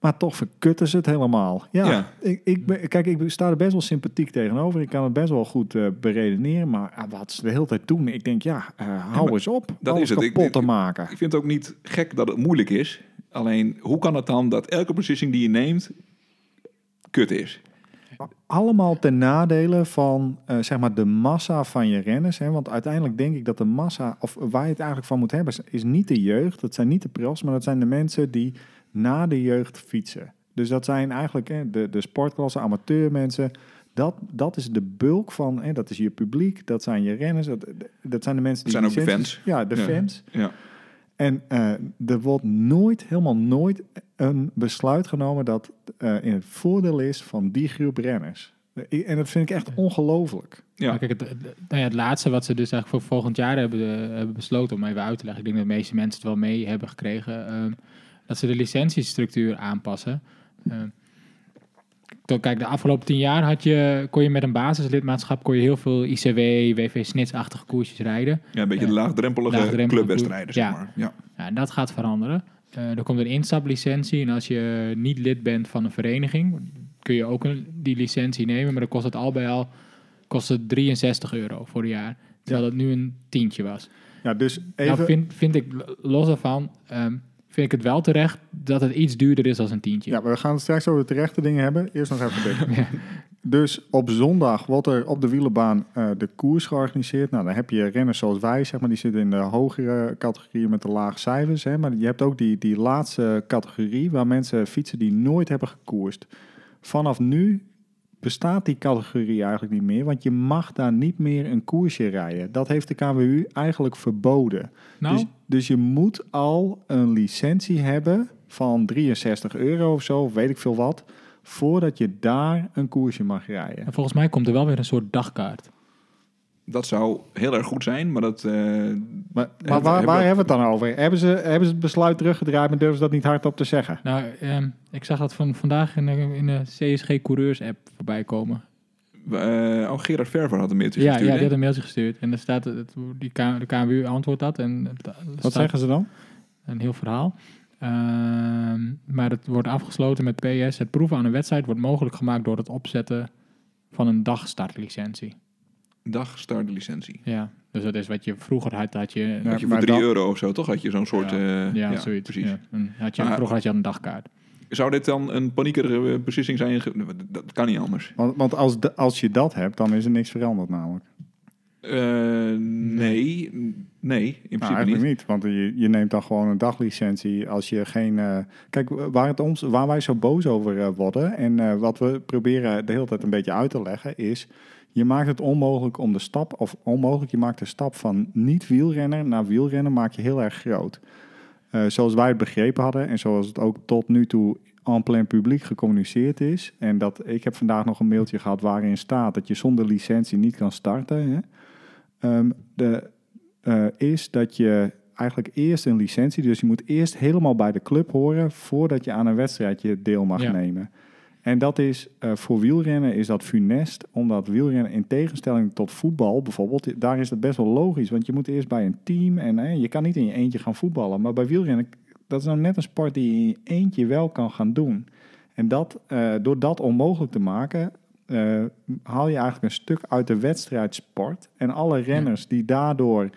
A: Maar toch verkutten ze het helemaal. Ja,
B: Ja.
A: Ik, ik ben- kijk, ik sta er best wel sympathiek tegenover. Ik kan het best wel goed eh, beredeneren. Maar ah, wat ze de hele tijd doen, ik denk ja, eh, hou
B: maar
A: eens op.
B: dat
A: alles
B: is het. Ik-
A: kapot
B: ik-
A: te maken.
B: Ik vind het ook niet gek dat het moeilijk is. Alleen, hoe kan het dan dat elke beslissing die je neemt kut is?
A: allemaal ten nadele van eh, zeg maar de massa van je renners. Hè? Want uiteindelijk denk ik dat de massa, of waar je het eigenlijk van moet hebben, is- is niet de jeugd. Dat zijn niet de profs, maar dat zijn de mensen die na de jeugd fietsen. Dus dat zijn eigenlijk hè, de, de sportklasse, amateurmensen. Dat, dat is de bulk van, hè, dat is je publiek, dat zijn je renners, dat, dat zijn de mensen die...
B: Dat zijn ook de
A: licenties-
B: fans.
A: Ja, de
B: Ja.
A: fans.
B: Ja.
A: En eh, er wordt nooit, helemaal nooit, een besluit genomen dat eh, in het voordeel is van die groep renners. Eh, En dat vind ik echt ongelooflijk.
B: Ja.
C: Maar kijk, het, het- nou ja, het laatste wat ze dus eigenlijk voor volgend jaar hebben, eh, hebben besloten, om even uit te leggen, ik denk dat de meeste mensen het wel mee hebben gekregen, ehm, dat ze de licentiestructuur aanpassen. Ehm, toch, kijk, de afgelopen tien jaar had je, kon je met een basislidmaatschap kon je heel veel ICW, WV Snits-achtige koersjes rijden.
B: ja, een beetje de laagdrempelige,
C: Laagdrempelige
B: clubwedstrijden, zeg
C: ja.
B: maar. Ja.
C: Ja, en dat gaat veranderen. Eh, er komt een instaplicentie en als je niet lid bent van een vereniging, kun je ook een, die licentie nemen, maar dan kost het al bij al kost het 63 euro voor een jaar. Terwijl het nu een tientje was.
A: Ja, dus
C: Nou
A: even...
C: vind, vind ik, los daarvan, ehm, vind ik het wel terecht dat het iets duurder is als een tientje.
A: Ja, maar we gaan het straks over de terechte dingen hebben. Eerst nog even dit. Dus op zondag wordt er op de wielerbaan eh, de koers georganiseerd. Nou, dan heb je renners zoals wij, zeg maar, die zitten in de hogere categorieën met de lage cijfers. Hè. Maar je hebt ook die, die laatste categorie waar mensen fietsen die nooit hebben gekoerst. Vanaf nu bestaat die categorie eigenlijk niet meer, want je mag daar niet meer een koersje rijden. Dat heeft de KWU eigenlijk verboden.
C: Nou,
A: Dus, dus je moet al een licentie hebben van 63 euro of zo, of weet ik veel wat, voordat je daar een koersje mag rijden.
C: en volgens mij komt er wel weer een soort dagkaart.
B: Dat zou heel erg goed zijn, maar dat... eh,
A: Maar, maar
B: Hebben-
A: waar,
B: hebben-
A: waar hebben we het dan over? Hebben ze, hebben ze het besluit teruggedraaid, maar durven ze dat niet hardop te zeggen?
C: Nou, ehm, ik zag dat van vandaag in de, in de CSG Coureurs app voorbij komen.
B: eh oh, Gerard Verver had hem meer tussen
C: Ja, ja,
B: gestuurd,
C: die
B: hè?
C: had een mailtje gestuurd. En er staat, het, die K- de KMU antwoordt dat. En het- er
A: Wat
C: staat
A: zeggen ze dan?
C: Een heel verhaal. Ehm, maar het wordt afgesloten met PS. Het proeven aan een wedstrijd wordt mogelijk gemaakt door het opzetten van een dagstartlicentie.
B: Dagstartlicentie.
C: Ja, dus dat is wat je vroeger had, had je...
A: Ja,
B: Had je voor
A: maar
B: 3
A: dan-
B: euro of zo, toch? Had je zo'n soort...
C: Ja.
B: eh,
C: ja, zoiets.
B: Precies.
C: ja. En Had je,
B: Maar-
C: vroeger had je al een dagkaart.
B: Zou dit dan een paniekerige eh, beslissing zijn? ge- Dat kan niet anders.
A: Want, want als, de- als je dat hebt, dan is er niks veranderd namelijk.
B: Eh, nee. Nee, in
A: Nou,
B: principe
A: eigenlijk
B: niet.
A: niet. want je, je neemt dan gewoon een daglicentie als je geen... eh, kijk, waar, het ons, waar wij zo boos over eh, worden en eh, wat we proberen de hele tijd een beetje uit te leggen is... Je maakt het onmogelijk om de stap, of onmogelijk, je maakt de stap van niet-wielrenner naar wielrenner maak je heel erg groot. Eh, zoals wij het begrepen hadden en zoals het ook tot nu toe en plein publiek gecommuniceerd is. En dat ik heb vandaag nog een mailtje gehad waarin staat dat je zonder licentie niet kan starten. Hè? Ehm, de, eh, is dat je eigenlijk eerst een licentie, dus je moet eerst helemaal bij de club horen voordat je aan een wedstrijdje deel mag
C: Ja.
A: nemen. En dat is eh, voor wielrennen is dat funest, omdat wielrennen in tegenstelling tot voetbal bijvoorbeeld, daar is dat best wel logisch, want je moet eerst bij een team en eh, je kan niet in je eentje gaan voetballen. Maar bij wielrennen, dat is nou net een sport die je in je eentje wel kan gaan doen. En dat, eh, door dat onmogelijk te maken, eh, haal je eigenlijk een stuk uit de wedstrijdsport. En alle renners die daardoor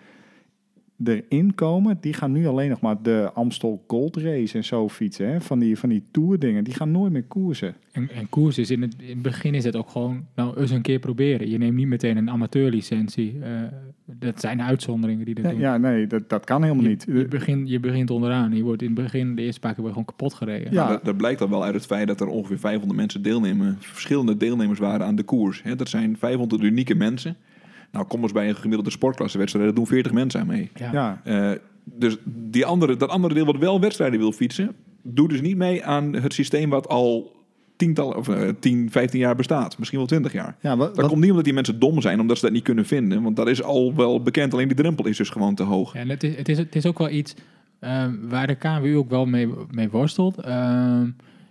A: erin komen, die gaan nu alleen nog maar de Amstel Gold Race en zo fietsen. Hè? Van, die, van die toerdingen, die gaan nooit meer koersen.
C: En, en koers is in het, in het begin is het ook gewoon, nou eens een keer proberen. Je neemt niet meteen een amateurlicentie. eh, dat zijn uitzonderingen die dat
A: Ja,
C: doen.
A: ja, nee, dat, dat kan helemaal
C: Je-
A: niet.
C: Je, begint, je begint onderaan. Je wordt in het begin, de eerste paar keer, word je gewoon kapot gereden.
A: Ja.
B: Maar Dat, dat blijkt dan wel uit het feit dat er ongeveer 500 mensen deelnemen. Verschillende deelnemers waren aan de koers. Hè. Dat zijn 500 unieke mensen. Nou, kom eens bij een gemiddelde sportklassewedstrijd. Daar doen 40 mensen aan mee.
C: Ja.
A: ja,
B: Eh, dus die andere, dat andere deel wat wel wedstrijden wil fietsen... doet dus niet mee aan het systeem wat al tiental, of, eh 10, 15 jaar bestaat. Misschien wel 20 jaar.
A: ja, wat,
B: Dat
A: wat-
B: komt niet omdat die mensen dom zijn, omdat ze dat niet kunnen vinden. Want dat is al wel bekend, alleen die drempel is dus gewoon te hoog.
C: Ja, en het is, het, is, het is ook wel iets ehm, waar de KNWU ook wel mee, mee worstelt. Ehm,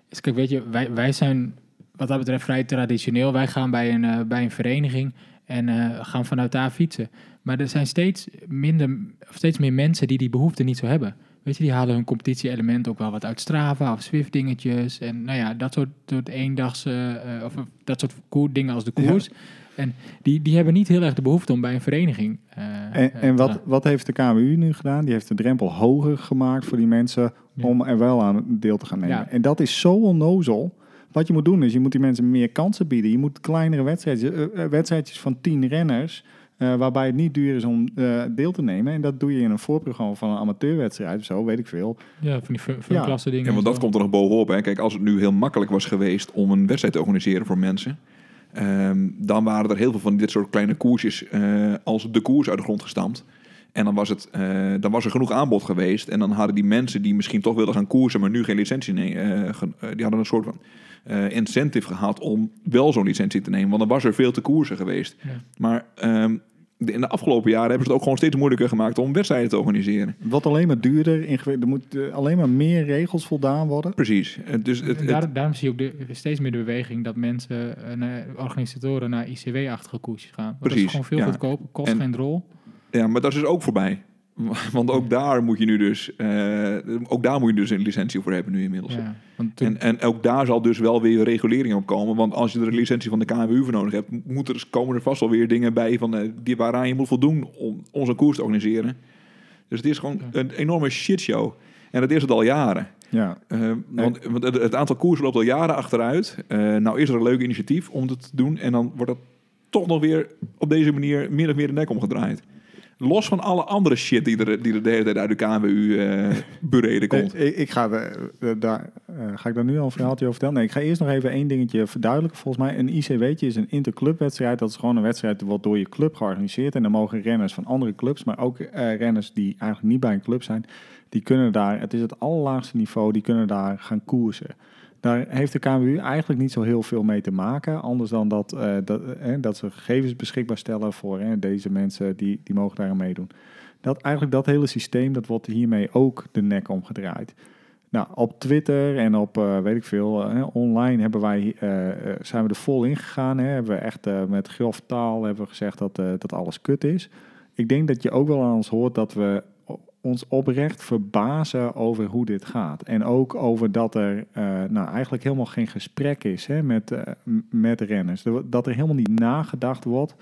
C: is, kijk, weet je, wij, wij zijn wat dat betreft vrij traditioneel. Wij gaan bij een, eh, bij een vereniging en eh, gaan vanuit daar fietsen. Maar er zijn steeds, minder, of steeds meer mensen die die behoefte niet zo hebben. Weet je, die halen hun competitie-element ook wel wat uit Strava of Zwift-dingetjes. En nou ja, dat soort, soort eendagse, eh, of of dat soort koer- dingen als de koers. En die, die hebben niet heel erg de behoefte om bij een vereniging... eh,
A: en,
C: eh,
A: en
C: te
A: wat, wat heeft de KWU nu gedaan? Die heeft de drempel hoger gemaakt voor die mensen
C: Ja.
A: om er wel aan deel te gaan nemen.
C: Ja.
A: En dat is zo onnozel. Wat je moet doen is, je moet die mensen meer kansen bieden. Je moet kleinere wedstrijdjes, eh, eh, wedstrijdjes van tien renners, eh, waarbij het niet duur is om eh, deel te nemen. En dat doe je in een voorprogramma van een amateurwedstrijd of zo, weet ik veel.
C: Ja, van die fun- funklasse dingen.
B: Ja, want
C: en
B: dat
C: zo.
B: komt er nog bovenop. Hè. Kijk, als het nu heel makkelijk was geweest om een wedstrijd te organiseren voor mensen... ehm, dan waren er heel veel van dit soort kleine koersjes eh, als de koers uit de grond gestampt. En dan was, het, eh, dan was er genoeg aanbod geweest. En dan hadden die mensen die misschien toch wilden gaan koersen... maar nu geen licentie nemen... die hadden een soort van eh, incentive gehad om wel zo'n licentie te nemen. Want dan was er veel te koersen geweest.
C: Ja.
B: Maar ehm, de- in de afgelopen jaren hebben ze het ook gewoon steeds moeilijker gemaakt... om wedstrijden te organiseren.
A: Wat alleen maar duurder, ingewikkeld- er moet eh, alleen maar meer regels voldaan worden.
B: Precies. Eh, Dus het,
C: En
B: het-
C: daar- daarom zie je ook de, steeds meer de beweging dat mensen, eh, naar- organisatoren, naar ICW-achtige koersjes gaan. Want Dat
B: Precies,
C: is gewoon veel
B: ja.
C: goedkoper, kost
B: En-
C: geen drol.
B: ja, maar dat is dus ook voorbij. Want ook daar moet je nu dus, eh, ook daar moet je dus een licentie voor hebben nu inmiddels.
C: Ja, want toen,
B: En, en ook daar zal dus wel weer regulering op komen. Want als je er een licentie van de KNWU voor nodig hebt, moet er, dus- komen er vast wel weer dingen bij van, eh, die, waaraan je moet voldoen om onze koers te organiseren. Dus het is gewoon
C: Ja.
B: een enorme shitshow. En dat is het al jaren.
A: Ja,
B: Eh, want want het, het aantal koers loopt al jaren achteruit. Eh, nou is er een leuk initiatief om dat te doen. En dan wordt dat toch nog weer op deze manier meer of meer de nek omgedraaid. Los van alle andere shit die er, die er de hele tijd uit de KNWU eh bereden komt.
A: Eh, Ik, ik ga, de- de- daar, eh, ga ik daar nu al een verhaaltje over vertellen? Nee, ik ga eerst nog even één dingetje verduidelijken. Volgens mij een ICW'tje is een interclubwedstrijd. Dat is gewoon een wedstrijd wat door je club georganiseerd. En dan mogen renners van andere clubs, maar ook eh, renners die eigenlijk niet bij een club zijn, die kunnen daar, het is het allerlaagste niveau, die kunnen daar gaan koersen. Daar heeft de KMU eigenlijk niet zo heel veel mee te maken. Anders dan dat, eh, dat, eh, dat ze gegevens beschikbaar stellen voor eh, deze mensen die, die mogen daaraan meedoen. Dat, eigenlijk dat hele systeem, dat wordt hiermee ook de nek omgedraaid. Nou, op Twitter en op, eh, weet ik veel, eh, online hebben wij, eh, eh, zijn we er vol in gegaan. Hè? Hebben we echt eh, met grof taal hebben we gezegd dat, eh, dat alles kut is. Ik denk dat je ook wel aan ons hoort dat we o- ons oprecht verbazen over hoe dit gaat. En ook over dat er eh, nou, eigenlijk helemaal geen gesprek is hè, met, eh, m- met renners. Er wo- Dat er helemaal niet nagedacht wordt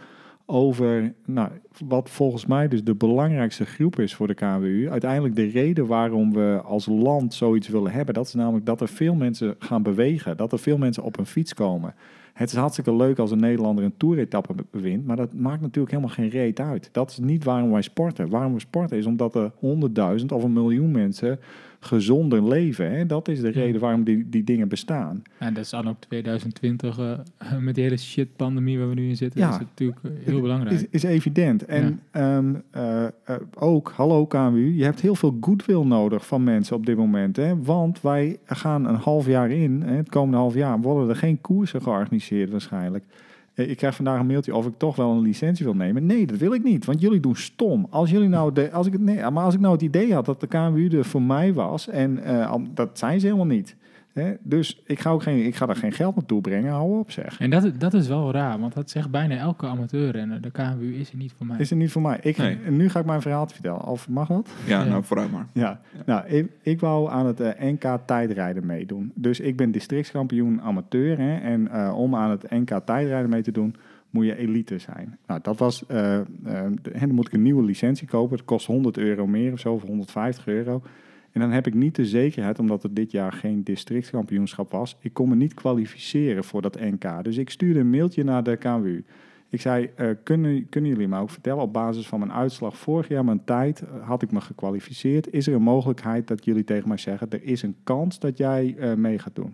A: over nou, wat volgens mij dus de belangrijkste groep is voor de KWU. Uiteindelijk de reden waarom we als land zoiets willen hebben, dat is namelijk dat er veel mensen gaan bewegen, dat er veel mensen op een fiets komen. Het is hartstikke leuk als een Nederlander een toeretappe wint, maar dat maakt natuurlijk helemaal geen reet uit. Dat is niet waarom wij sporten. Waarom we sporten is omdat er honderdduizend of een miljoen mensen gezonder leven. Hè? Dat is de reden waarom die, die dingen bestaan.
C: en dat is dan ook 2020, eh, met die hele shit-pandemie waar we nu in zitten,
A: Ja.
C: is het natuurlijk eh, heel belangrijk.
A: Is, is evident. En ehm, eh, eh, ook, hallo KMU, je hebt heel veel goodwill nodig van mensen op dit moment. Hè? Want wij gaan een half jaar in, hè, het komende half jaar, worden er geen koersen georganiseerd waarschijnlijk. Eh, Ik krijg vandaag een mailtje of ik toch wel een licentie wil nemen. Nee, dat wil ik niet, want jullie doen stom. Als jullie nou de, als ik het, nee, maar als ik nou het idee had dat de KMU er voor mij was, en eh, am- dat zijn ze helemaal niet. Hè? Dus ik ga, ook geen, ik ga daar geen geld naartoe brengen, hou op zeg.
C: En dat, dat is wel raar, want dat zegt bijna elke amateurrenner. De KNWU is er niet voor mij.
A: Is het niet voor mij? Ik,
B: Nee.
A: en Nu ga ik mijn verhaal vertellen. Of mag dat?
B: Ja,
C: Ja.
B: nou vooruit maar.
A: Ja, nou, ik, ik wou aan het eh, NK tijdrijden meedoen. Dus ik ben districtskampioen amateur. Hè, en eh, om aan het NK tijdrijden mee te doen, moet je elite zijn. Nou, dat was. eh, eh, de- hè, dan moet ik een nieuwe licentie kopen. Dat kost 100 euro meer of zo, of 150 euro. En dan heb ik niet de zekerheid, omdat er dit jaar geen districtskampioenschap was. Ik kon me niet kwalificeren voor dat NK. Dus ik stuurde een mailtje naar de KWU. Ik zei, eh, kunnen, kunnen jullie me ook vertellen, op basis van mijn uitslag vorig jaar, mijn tijd, eh, had ik me gekwalificeerd. Is er een mogelijkheid dat jullie tegen mij zeggen, er is een kans dat jij eh, mee gaat doen?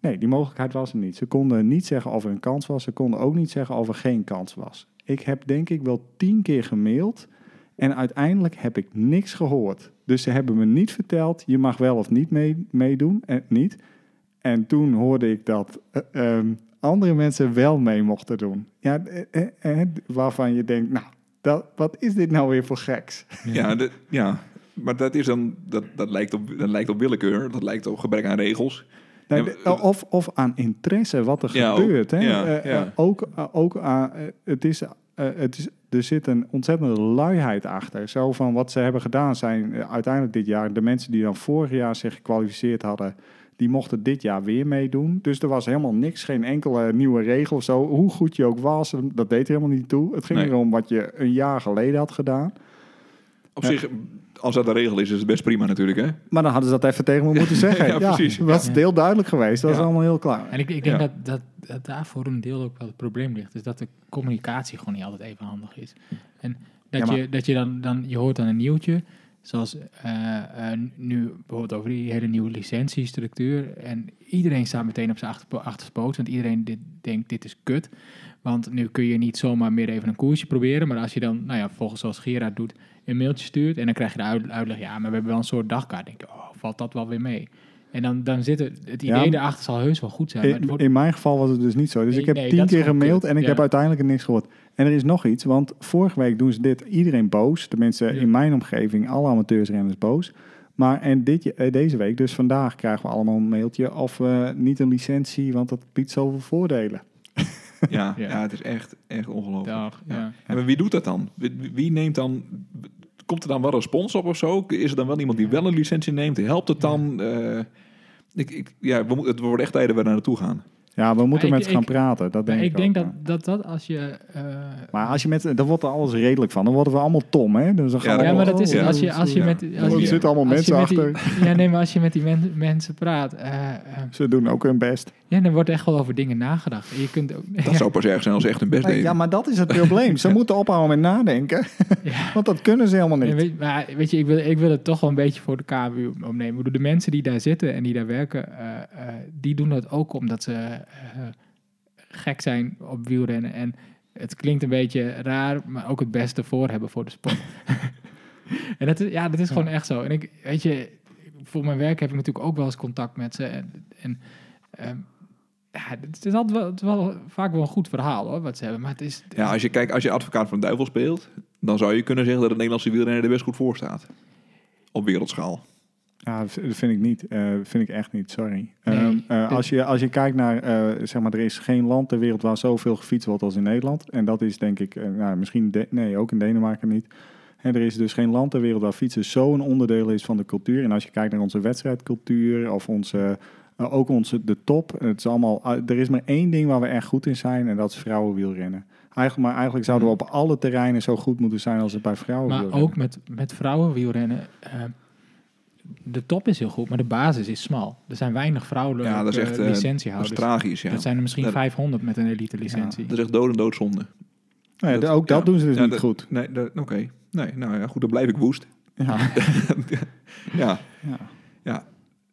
A: Nee, die mogelijkheid was er niet. Ze konden niet zeggen of er een kans was. Ze konden ook niet zeggen of er geen kans was. Ik heb denk ik wel tien keer gemaild en uiteindelijk heb ik niks gehoord. Dus ze hebben me niet verteld, je mag wel of niet mee, meedoen, en niet. En toen hoorde ik dat eh, ehm, andere mensen wel mee mochten doen. Ja, eh, eh, eh, waarvan je denkt, nou, dat, wat is dit nou weer voor geks?
B: Ja, de- ja. maar dat, is dan, dat, dat, lijkt op, dat lijkt op willekeur. Dat lijkt op gebrek aan regels.
A: Nou,
B: Ja,
A: de-
B: maar-
A: of, of aan interesse wat er
B: Ja, ook.
A: gebeurt. Hè?
B: Ja,
A: Eh, eh,
B: ja.
A: ook, eh, ook aan, eh, het is, eh, het is, er zit een ontzettende luiheid achter. Zo van wat ze hebben gedaan zijn eh, uiteindelijk dit jaar... de mensen die dan vorig jaar zich gekwalificeerd hadden... die mochten dit jaar weer meedoen. Dus er was helemaal niks, geen enkele nieuwe regel of zo. Hoe goed je ook was, eh, dat deed er helemaal niet toe. Het ging
B: Nee.
A: erom wat je een jaar geleden had gedaan.
B: Op
A: Ja.
B: zich, als dat de regel is, is het best prima natuurlijk. Hè?
A: Maar dan hadden ze dat even tegen me moeten zeggen.
B: Ja, precies.
A: Dat is heel duidelijk geweest. Dat is
B: Ja.
A: allemaal heel klaar.
C: En ik, ik denk
B: Ja.
C: dat, dat, dat daar voor een deel ook wel het probleem ligt. Is dat de communicatie gewoon niet altijd even handig is. En dat,
A: Ja, maar-
C: je, dat je dan, dan, je hoort dan een nieuwtje. Zoals eh, eh, nu bijvoorbeeld over die hele nieuwe licentiestructuur. En iedereen staat meteen op zijn achterpo- achterspoot. Want iedereen dit, denkt, dit is kut. Want nu kun je niet zomaar meer even een koersje proberen. Maar als je dan, nou ja, volgens zoals Gerard doet, een mailtje stuurt. En dan krijg je de uit- uitleg, ja, maar we hebben wel een soort dagkaart. Dan denk je, oh, valt dat wel weer mee? En dan, dan zit het, het
A: Ja,
C: idee
A: maar-
C: erachter zal heus wel goed zijn. maar het
A: In,
C: wordt-
A: in mijn geval was het dus niet zo. Dus
C: Nee,
A: ik heb
C: nee,
A: tien
C: dat is
A: keer
C: gewoon
A: gemaild
C: kut,
A: en ik
C: ja.
A: heb uiteindelijk niks gehoord. En er is nog iets, want vorige week doen ze dit iedereen boos. Tenminste,
C: Ja.
A: in mijn omgeving, alle amateursrenners boos. Maar en dit, je- eh, deze week, dus vandaag, krijgen we allemaal een mailtje of eh, niet een licentie, want dat biedt zoveel voordelen.
B: Ja, ja.
C: Ja.
B: het is echt, echt ongelooflijk.
C: Dag, ja.
B: Ja, maar wie doet dat dan? Wie, wie neemt dan... Komt er dan wel respons op of zo? Is er dan wel iemand die wel een licentie neemt? Helpt het dan? Eh, ik, ik, ja, we, moeten- het wordt echt tijden waar we naartoe gaan.
A: Ja, we moeten
C: ik-
A: met ze gaan
C: ik-
A: praten. Dat denk
C: Maar
A: ik,
C: ik denk
A: ook,
C: dat,
A: ja.
C: dat dat als je... eh,
A: Maar als je met, dan wordt er alles redelijk van. Dan worden we allemaal Tom, hè? Dus dan gaan
B: Ja,
A: we
C: ja,
A: allemaal-
C: maar dat is
A: oh,
C: het. Als je, als je
B: Ja.
C: met... Als
A: er
C: je,
A: zitten allemaal
C: als je
A: mensen
C: met
A: achter.
C: die- ja, nee, maar als je met die men- mensen praat... eh, eh,
A: Ze doen ook hun best.
C: ja, dan wordt echt wel over dingen nagedacht. En Je kunt ook...
B: Dat zou pas erg zijn als ze echt hun best
A: Nee,
B: deden.
A: ja, maar dat is het probleem. Ze moeten ophouden met nadenken,
C: Ja.
A: want dat kunnen ze helemaal
C: Ja,
A: niet.
C: weet, maar weet je, ik wil, ik wil het toch wel een beetje voor de KWU opnemen. Ik bedoel, de mensen die daar zitten en die daar werken, eh, eh, die doen dat ook omdat ze eh, gek zijn op wielrennen. En het klinkt een beetje raar, maar ook het beste voor hebben voor de sport. en dat is, ja, dat is gewoon echt zo. En ik, weet je, voor mijn werk heb ik natuurlijk ook wel eens contact met ze. En, en ehm, ja, het is altijd wel, het is wel vaak wel een goed verhaal hoor, wat ze hebben. Maar het is,
B: Ja, als je kijkt, als je advocaat van de duivel speelt, dan zou je kunnen zeggen dat het Nederlandse wielrenner er best goed voor staat. Op wereldschaal.
A: Ja, Ah, v- dat vind ik niet. Eh, vind ik echt niet, sorry.
C: Nee.
A: Ehm, eh, als, je, als je kijkt naar, eh, zeg maar, er is geen land ter wereld waar zoveel gefietst wordt als in Nederland. En dat is denk ik, eh, nou, misschien, De- nee, ook in Denemarken niet. En er is dus geen land ter wereld waar fietsen zo'n onderdeel is van de cultuur. En als je kijkt naar onze wedstrijdcultuur of onze, eh, ook onze, de top. Het is allemaal, ah, er is maar één ding waar we echt goed in zijn en dat is vrouwenwielrennen. Eigenlijk, maar eigenlijk zouden we op alle terreinen zo goed moeten zijn als het bij
B: Oh,
A: vrouwen
C: Maar ook met, met vrouwenwielrennen. eh, de top is heel goed, maar de basis is smal. Er zijn weinig vrouwelijke
B: Ja, dat is echt
C: eh,
B: eh, Dat is
C: licentiehouders.
B: tragisch, ja. dus
C: Dat zijn er misschien
B: Dat-
C: 500 met een elite licentie.
B: Dat is echt dood en doodzonde.
A: ja, de- ook dat
B: ja.
A: doen ze dus
B: Ja,
A: niet
B: dat-
A: goed.
B: Nee, dat- oké. Nee, nou ja, goed, dan blijf ik woest.
A: Ja.
B: Ja,
A: ja.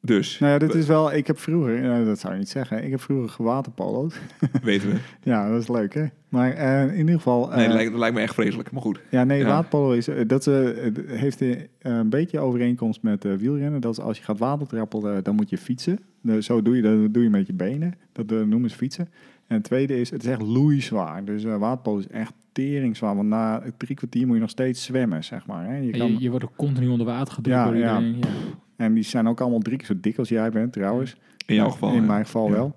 B: dus,
A: Nou ja, dit is wel. Ik heb vroeger, nou, dat zou je niet zeggen. Ik heb vroeger gewaterpolo'd.
B: weten we.
A: Ja, dat is leuk, hè? Maar eh, in ieder geval. eh,
B: Nee, dat, lijkt, dat lijkt me echt vreselijk, maar goed.
A: ja, nee,
B: ja.
A: waterpolo is. eh, Dat eh, eh, heeft eh, een beetje overeenkomst met eh, wielrennen. Dat is als je gaat watertrappelen, dan moet je fietsen. Eh, zo doe je dat doe je met je benen. Dat eh, noemen ze fietsen. En het tweede is, het is echt loeizwaar. Dus eh waterpolo is echt teringzwaar. Want na drie kwartier moet je nog steeds zwemmen, zeg maar. Hè? Je
C: En
A: kan-
C: je, je wordt ook continu onder water gedrukt
A: Ja,
C: door
A: ja.
C: iedereen. Ja. eh,
A: En die zijn ook allemaal drie keer zo dik als jij bent, trouwens.
B: In jouw geval.
A: In
B: ja.
A: mijn geval
B: Ja.
A: wel.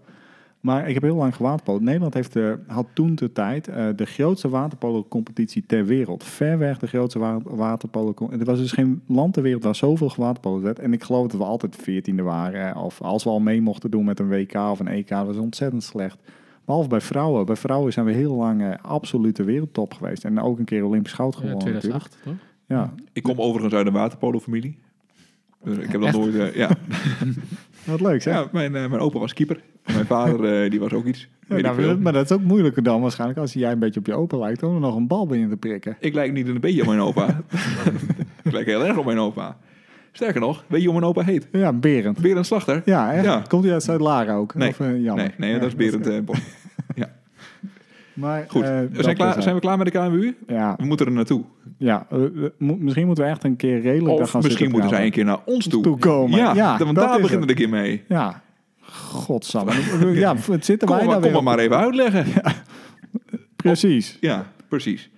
A: Maar ik heb heel lang gewaterpolo'd. Nederland heeft, eh, had toen de tijd eh, de grootste waterpolo-competitie ter wereld. Ver weg de grootste wa waterpolo-competitie. Er was dus geen land ter wereld waar zoveel gewaterpolo'd werd. En ik geloof dat we altijd veertiende waren. eh, Of als we al mee mochten doen met een WK of een EK, dat was ontzettend slecht. Behalve bij vrouwen. Bij vrouwen zijn we heel lang eh, absolute wereldtop geweest. En ook een keer Olympisch goud
C: Ja,
A: gewonnen natuurlijk.
C: 2008, toch?
A: Ja,
B: Ik kom overigens uit een waterpolo-familie. Dus ik heb dat nooit... eh, ja.
A: Wat leuk zeg.
B: ja, mijn, eh, mijn opa was keeper. Mijn vader eh, die was ook iets.
A: Ja,
B: Weet
A: nou,
B: ik, veel.
A: maar dat is ook moeilijker dan waarschijnlijk als jij een beetje op je open lijkt om er nog een bal binnen te prikken.
B: ik lijk niet een beetje op mijn opa. ik lijk heel erg op mijn opa. Sterker nog, weet je hoe mijn opa heet?
A: Ja, Berend.
B: Berend Slachter.
A: Ja, echt?
B: Ja.
A: Komt hij uit Zuid-Laren ook?
B: Nee.
A: Of, eh, jammer.
B: Nee, nee
A: Ja,
B: dat is Berend eh, Bos.
A: Maar,
B: Goed,
A: eh,
B: we
A: dat
B: zijn, klaar,
A: dus
B: zijn we klaar met de KMU?
A: al. Ja,
B: We moeten er naartoe.
A: ja eh, eh, mo- misschien moeten we echt een keer redelijk daar
B: Of
A: gaan
B: misschien
A: zitten
B: moeten zij een
A: praten.
B: keer naar ons toe.
A: toekomen.
B: Ja,
A: Ja,
B: want
A: dat
B: daar
A: is
B: beginnen
A: het.
B: we een keer mee.
A: Ja, godsamme. ja, het zitten
B: Kom,
A: wij
B: maar,
A: daar
B: kom
A: weer
B: maar, maar
A: op.
B: even uitleggen. Ja,
A: Precies.
B: precies.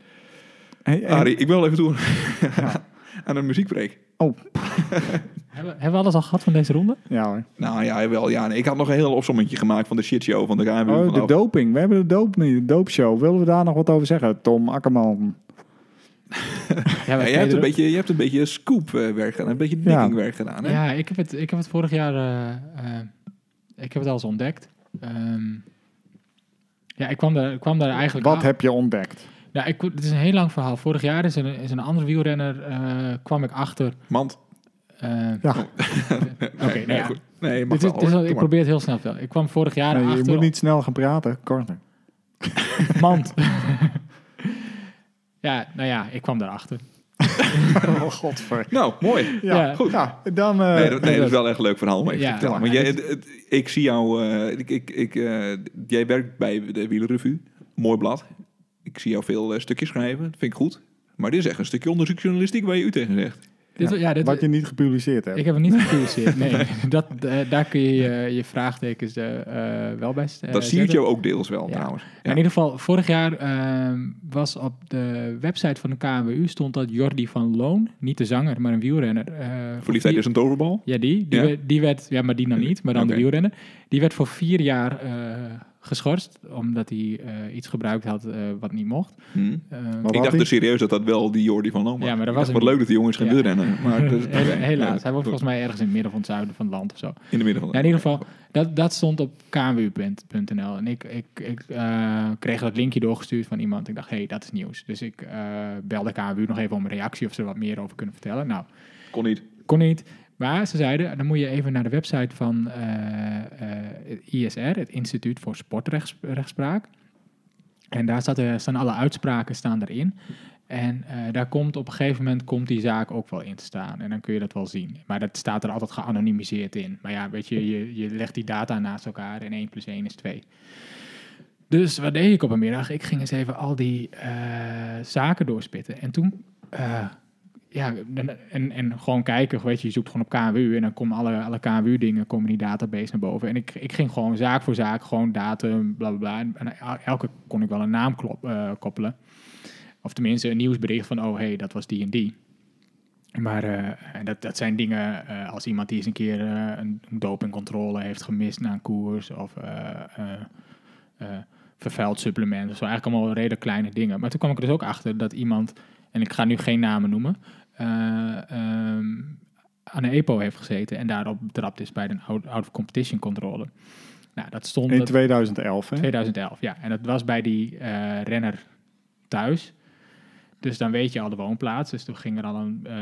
A: Hey, en-
B: Arie, ik wil even toe aan een muziekbreek.
A: oh,
C: Hebben, hebben we alles al gehad van deze ronde?
A: ja hoor.
B: Nou ja, wel, ja. nee, ik had nog een heel opsommetje gemaakt van de shitshow van de KMU.
A: Oh, de
B: vanaf-
A: doping. We hebben de doop niet. De doopshow. Willen we daar nog wat over zeggen? Tom Akkerman.
B: Ja, jij, hebt een beetje, je hebt een beetje scoopwerk gedaan, een beetje
A: Ja.
B: dikkingwerk gedaan. Hè?
C: Ja, ik heb het, ik heb het vorig jaar. eh, eh, ik heb het al eens ontdekt. Ehm, ja, ik kwam daar, ik kwam daar eigenlijk.
A: Wat
C: aan-
A: heb je ontdekt?
C: Ja, ik, het is een heel lang verhaal. Vorig jaar is een, is een andere wielrenner. eh, kwam ik achter.
B: Mand.
C: eh,
A: Ja,
C: Oké, nou
B: nee,
C: ja.
B: goed. Nee, mag
C: dit is,
B: wel,
C: dit
B: hoor.
C: is al- ik
B: Kom maar.
C: probeer het heel snel te vertellen. Ik kwam vorig jaar
A: Nee, je
C: achter.
A: moet niet snel gaan praten. Korter.
C: Mand. ja, nou ja, ik kwam daarachter.
A: Oh, godver.
B: Nou, mooi.
A: Ja,
C: Ja.
A: goed. Ja, dan... eh,
B: nee, dat, nee, dat is wel echt een leuk verhaal om even
C: Ja.
B: te vertellen. Want jij, het- het- ik zie jou... eh, ik, ik, ik, eh, jij werkt bij de Wielerrevue. Mooi blad. Ik zie jou veel eh, stukjes schrijven. Dat vind ik goed. Maar dit is echt een stukje onderzoeksjournalistiek waar je u tegen zegt.
C: Dit, ja, dit,
A: wat je niet gepubliceerd hebt.
C: Ik heb hem niet gepubliceerd. Nee, dat, eh, daar kun je je, je vraagtekens eh, eh, wel bij stellen.
B: Dat zie je jou ook deels wel,
C: Ja.
B: trouwens.
C: In ieder geval, vorig jaar ehm, was op de website van de KNWU stond dat Jordi van Loon, niet de zanger, maar een wielrenner. eh, voor
B: Verliefdheid
C: vier-
B: is een toverbal.
C: Ja, die. Die,
B: Ja.
C: Werd, die werd, ja, maar die dan niet, maar dan
B: Oké.
C: de wielrenner. Die werd voor vier jaar eh, geschorst, omdat hij eh, iets gebruikt had eh, wat niet mocht.
B: Hm.
C: Ehm,
A: Maar
B: Ik dacht
A: die-
B: dus serieus dat dat wel die Jordi van Loon was.
C: Ja, maar dat
B: Ik
C: was
B: dacht,
C: hem
B: Wat
C: niet.
B: leuk dat die jongens gaan
C: Ja.
B: wielrennen. Maar dat is-
C: Hel-
B: Nee,
C: helaas, hij woont volgens mij ergens in het midden van het zuiden van het land of zo.
B: In de midden van
C: Ja, in ieder geval, dat, dat stond op kww.nl. En ik, ik, ik eh, kreeg dat linkje doorgestuurd van iemand. Ik dacht, hé, hey, dat is nieuws. Dus ik eh, belde KNWU nog even om een reactie of ze er wat meer over kunnen vertellen. Nou,
B: Kon niet.
C: kon niet. Maar ze zeiden, dan moet je even naar de website van eh, eh, het ISR, het Instituut voor Sportrechtspraak. En daar staat, eh, staan alle uitspraken staan erin. En eh, daar komt op een gegeven moment komt die zaak ook wel in te staan. En dan kun je dat wel zien. Maar dat staat er altijd geanonimiseerd in. Maar ja, weet je, je, je legt die data naast elkaar en 1 plus 1 is 2. Dus wat deed ik op een middag? Ik ging eens even al die eh, zaken doorspitten. En toen eh, ja, en, en, en gewoon kijken, weet je, je zoekt gewoon op KWU en dan komen alle, alle KWU-dingen, komen die database naar boven. En ik, ik ging gewoon zaak voor zaak, gewoon datum, bla bla bla. En, en elke kon ik wel een naam klop, eh, koppelen. Of tenminste een nieuwsbericht van, oh hé, hey, dat was die en die. Maar eh, en dat, dat zijn dingen eh, als iemand die eens een keer eh, een dopingcontrole heeft gemist na een koers of eh, eh, eh, vervuild supplement. Dat zijn eigenlijk allemaal redelijk kleine dingen. Maar toen kwam ik er dus ook achter dat iemand, en ik ga nu geen namen noemen, eh, ehm, aan een EPO heeft gezeten en daarop betrapt is bij de out-of-competition controle. Nou, dat
B: dus-
C: stond...
A: In
C: dat-
A: 2011, hè?
C: 2011, ja. En dat was bij die eh, renner thuis. Dus dan weet je al de woonplaats. Dus toen ging er al een... eh,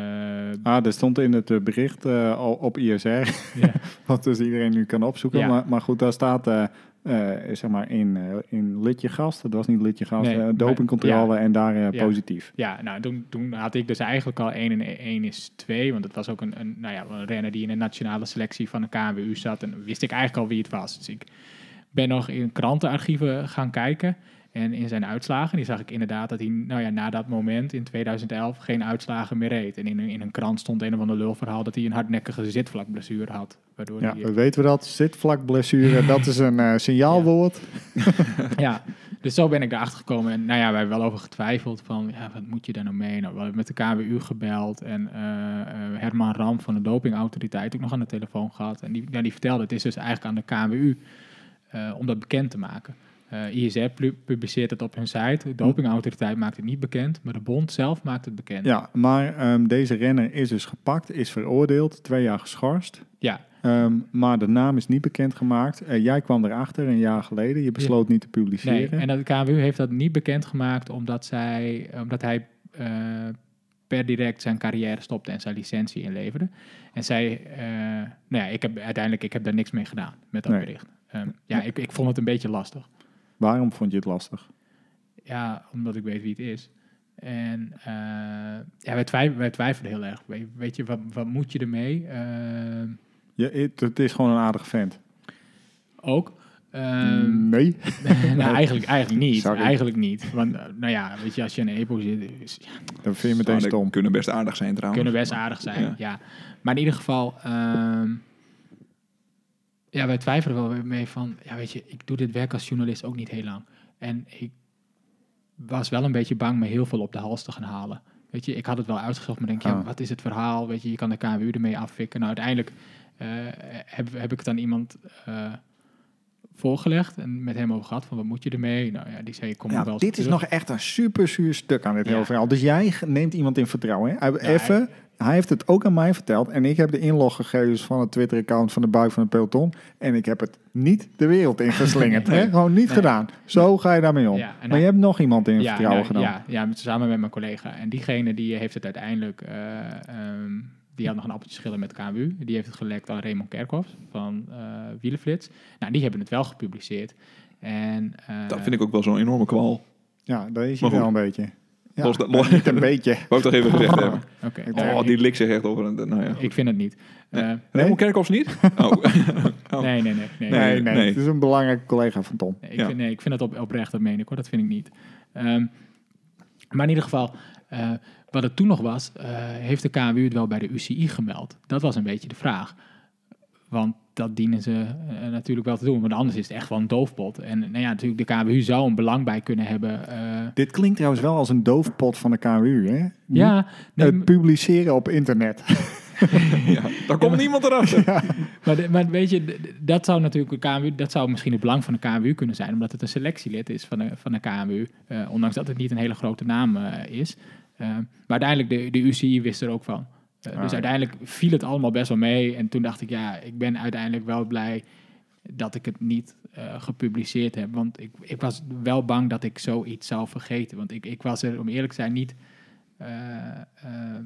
A: Ah, er stond in het eh, bericht eh, al op ISR,
C: Ja.
A: wat dus iedereen nu kan opzoeken.
C: Ja.
A: Maar, maar goed, daar staat eh, eh, zeg maar in, eh in litje gast, dat was niet litje gast,
C: Nee,
A: eh,
C: maar-
A: dopingcontrole en daar eh,
C: Ja.
A: positief.
C: ja, nou, toen, toen had ik dus eigenlijk al 1 en 1 is 2. Want het was ook een, een, nou ja, een renner die in de nationale selectie van de KNWU zat. En wist ik eigenlijk al wie het was. Dus ik ben nog in krantenarchieven gaan kijken. En in zijn uitslagen, die zag ik inderdaad dat hij nou ja, na dat moment in 2011 geen uitslagen meer reed. En in, een- in een krant stond een of ander lulverhaal dat hij een hardnekkige zitvlakblessure had. Waardoor
A: Ja,
C: hij, eh,
A: weten we dat? Zitvlakblessure, dat is een eh, signaalwoord.
C: Ja, dus zo ben ik erachter gekomen. En nou ja, wij hebben wel over getwijfeld van, ja, wat moet je daar nou mee? Nou, we hebben met de KWU gebeld en eh, eh, Herman Ram van de dopingautoriteit ook nog aan de telefoon gehad. En die, ja, die vertelde, het is dus eigenlijk aan de KWU eh, om dat bekend te maken. Eh ISR pu- publiceert het op hun site. De dopingautoriteit maakt het niet bekend, maar de bond zelf maakt het bekend.
A: Ja, maar ehm, deze renner is dus gepakt, is veroordeeld, twee jaar geschorst.
C: ja.
A: Ehm, maar de naam is niet bekendgemaakt. Eh, jij kwam erachter een jaar geleden. Je besloot niet te publiceren.
C: Nee, en dat- de KNWU heeft dat niet bekendgemaakt omdat, zij, omdat hij eh, per direct zijn carrière stopte en zijn licentie inleverde. En zij, eh, nou ja, ik heb uiteindelijk ik heb daar niks mee gedaan met dat
A: Nee.
C: bericht. Ehm, ja, ik, ik vond het een beetje lastig.
A: Waarom vond je het lastig?
C: Ja, omdat ik weet wie het is. En eh, ja, wij, twij- wij twijfelden heel erg. We- Weet je, wat, wat moet je ermee? Ehm,
A: Ja, het, het is gewoon een aardig vent.
C: ook. Ehm,
A: nee.
C: nou, eigenlijk, eigenlijk niet.
A: Mm. Sorry.
C: Eigenlijk niet. Want, eh, nou ja, weet je, als je in een EPO zit, is- ja,
A: Dan vind je meteen
B: Nou, dat
A: stom.
B: kunnen best aardig zijn trouwens.
C: kunnen best aardig zijn.
B: Ja.
C: Ja. Maar in ieder geval, ehm, ja, wij twijfelen wel weer mee van, ja, weet je, ik doe dit werk als journalist ook niet heel lang. En ik was wel een beetje bang me heel veel op de hals te gaan halen. Weet je, ik had het wel uitgezocht, maar denk, ja,
A: Ah.
C: wat is het verhaal? Weet je, je kan de KMU ermee afvikken. Nou, uiteindelijk eh, heb, heb ik het aan iemand eh, voorgelegd en met hem over gehad van, wat moet je ermee? Nou ja, die zei, ik kom nog wel
A: Ja,
C: eens
A: dit is
C: terug.
A: nog echt een super zuur stuk aan dit
C: Ja.
A: hele verhaal. Dus jij g- neemt iemand in vertrouwen. Hè? Hij-
C: hij-
A: Even, hij heeft het ook aan mij verteld. En ik heb de inloggegevens van het Twitter-account van de buik van het peloton. En ik heb het niet de wereld ingeslingerd.
C: Nee.
A: hè? Gewoon niet
C: Nee.
A: gedaan. Zo ga je daarmee om.
C: Ja, en
A: maar
C: hij-
A: je hebt nog iemand in vertrouwen
C: nou,
A: gedaan.
C: Ja, ja met, samen met mijn collega. En diegene die heeft het uiteindelijk... eh, ehm, die had nog een appeltje schillen met KMU. Die heeft het gelekt aan Raymond Kerkhoff van eh Wielenflits. Nou, die hebben het wel gepubliceerd. En, eh,
B: Dat vind ik ook wel zo'n enorme kwal.
A: Ja, daar is
B: Maar
A: hij wel
B: goed.
A: een beetje. Ja,
B: Los dat- los-
A: niet een beetje.
B: Wou ik toch even gezegd hebben.
C: oké,
A: Ik
C: nou,
B: Oh,
C: ik-
B: die lik zich echt over. een- Nou ja.
C: Ik vind het niet. Eh,
B: Raymond Kerkhoffs niet? Oh. Oh.
C: nee, nee, nee. nee,
A: Nee, nee,
B: nee.
A: Het is een belangrijke collega van Tom.
C: Nee, ik,
B: Ja.
C: vind, nee, ik vind dat op, oprecht, dat meen ik hoor, dat vind ik niet. Ehm, maar in ieder geval, eh, wat het toen nog was, eh, heeft de KMU het wel bij de UCI gemeld? Dat was een beetje de vraag. Want dat dienen ze eh, natuurlijk wel te doen, want anders is het echt wel een doofpot. En nou ja, natuurlijk, de KMU zou een belang bij kunnen hebben. eh,
A: Dit klinkt trouwens wel als een doofpot van de KWU, hè?
C: ja, nee,
A: Het Eh, publiceren op internet.
B: Ja. Daar komt niemand erachter.
C: Maar, de- maar weet je, d- d- dat zou natuurlijk een KMU, dat zou misschien het belang van de KMU kunnen zijn, omdat het een selectielid is van de, van de KMU, eh, ondanks dat het niet een hele grote naam eh, is. Eh, maar uiteindelijk, de, de UCI wist er ook van. Eh,
A: Ah,
C: dus
A: ja.
C: uiteindelijk viel het allemaal best wel mee. En toen dacht ik, ja, ik ben uiteindelijk wel blij dat ik het niet eh, gepubliceerd heb. Want ik, ik was wel bang dat ik zoiets zou vergeten. Want ik, ik was er, om eerlijk te zijn, niet... eh, eh,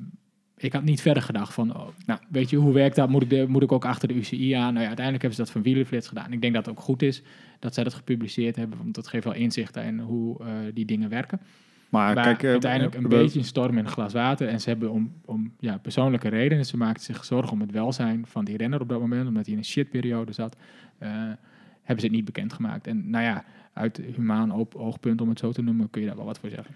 C: ik had niet verder gedacht van, oh, nou, weet je, hoe werkt dat? Moet ik, de, moet ik ook achter de UCI aan? Nou ja, uiteindelijk hebben ze dat van Wielerflits gedaan. Ik denk dat het ook goed is dat zij dat gepubliceerd hebben, want dat geeft wel inzicht in hoe eh, die dingen werken.
A: Maar,
C: maar
A: kijk, eh,
C: uiteindelijk een
A: we-
C: beetje een storm in een glas water. En ze hebben om, om ja, persoonlijke redenen, ze maakten zich zorgen om het welzijn van die renner op dat moment, omdat hij in een shitperiode zat, eh, hebben ze het niet bekendgemaakt. En nou ja, uit humaan op, oogpunt, om het zo te noemen, kun je daar wel wat voor zeggen.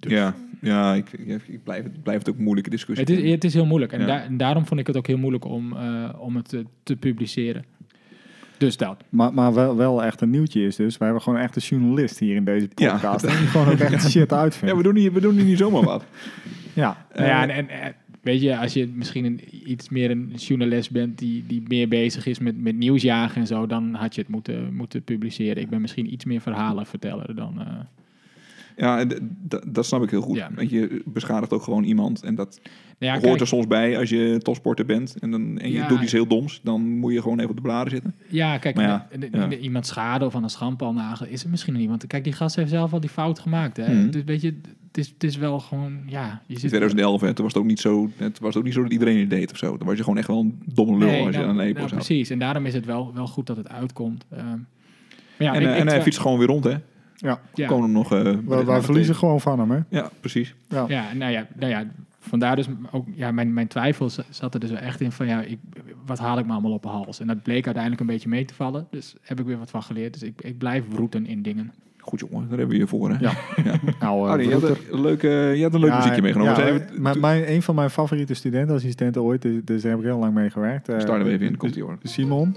B: Ja, ja ik, ik, ik blijf, het blijft ook een moeilijke discussie.
C: Het is, het is heel moeilijk. En,
B: Dus Ja.
C: da- en daarom vond ik het ook heel moeilijk om, eh, om het te, te publiceren. Dus dat.
A: Maar, maar wel, wel echt een nieuwtje is dus. We hebben gewoon echt een journalist hier in deze
B: Ja.
A: podcast. Die gewoon ook echt shit
B: ja,
A: uitvindt.
B: we doen, hier, we doen hier niet zomaar wat.
A: Ja,
C: nou ja, en, en, eh, weet je, als je misschien een, iets meer een journalist bent die, die meer bezig is met, met nieuwsjagen en zo, dan had je het moeten, moeten publiceren. Ik ben misschien iets meer verhalen verteller dan. eh,
B: Ja, en d- d- dat snap ik heel goed.
C: Ja.
B: Want je beschadigt ook gewoon iemand. En dat
C: Nou ja,
B: hoort
C: kijk,
B: er soms bij als je topsporter bent. En, dan, en je
C: Ja.
B: doet iets heel doms. Dan moet je gewoon even op de blaren zitten.
C: Ja, kijk,
B: Maar ja,
C: de- de-
B: ja.
C: de- iemand schade of aan een schandpaal nagelen is er misschien niet. Want kijk, die gast heeft zelf al die fout gemaakt. Hè?
B: Mhm.
C: Dus weet je, het is, het is wel gewoon, ja. Je
B: In
C: zit
B: 2011, hè, toen was het ook niet zo, het was ook niet zo dat iedereen het deed of zo. Dan was je gewoon echt wel een domme lul
C: Nee,
B: als je
C: nou,
B: aan een lepel
C: nou,
B: zat.
C: Precies, en daarom is het wel, wel goed dat het uitkomt. Ehm, maar ja,
B: en
C: ik-
B: eh,
C: ik
B: en hij
C: twa-
B: fietst gewoon weer rond, hè?
A: ja.
C: ja,
B: Komen hem nog... eh,
A: we, we verliezen gewoon van hem, hè?
B: Ja, precies.
C: ja, nou ja, nou ja, vandaar dus ook, ja, mijn, mijn twijfel z- zat er dus wel echt in van, ja, ik, wat haal ik me allemaal op de hals? En dat bleek uiteindelijk een beetje mee te vallen, dus heb ik weer wat van geleerd. Dus ik, ik blijf roeten in dingen. Nou,
B: Goed jongen, daar hebben we je voor, hè?
A: Ja. Nou, eh,
B: Arie, je, Oh, had
A: Broeker.
B: een leuke, je had een leuk
A: Ja,
B: muziekje meegenomen.
A: ja,
B: We zijn even-
A: maar
B: to-
A: mijn, een van mijn favoriete studentenassistenten ooit, dus, dus daar heb ik heel lang mee gewerkt. eh,
B: Start hem even in, komt ie hoor.
A: Simon.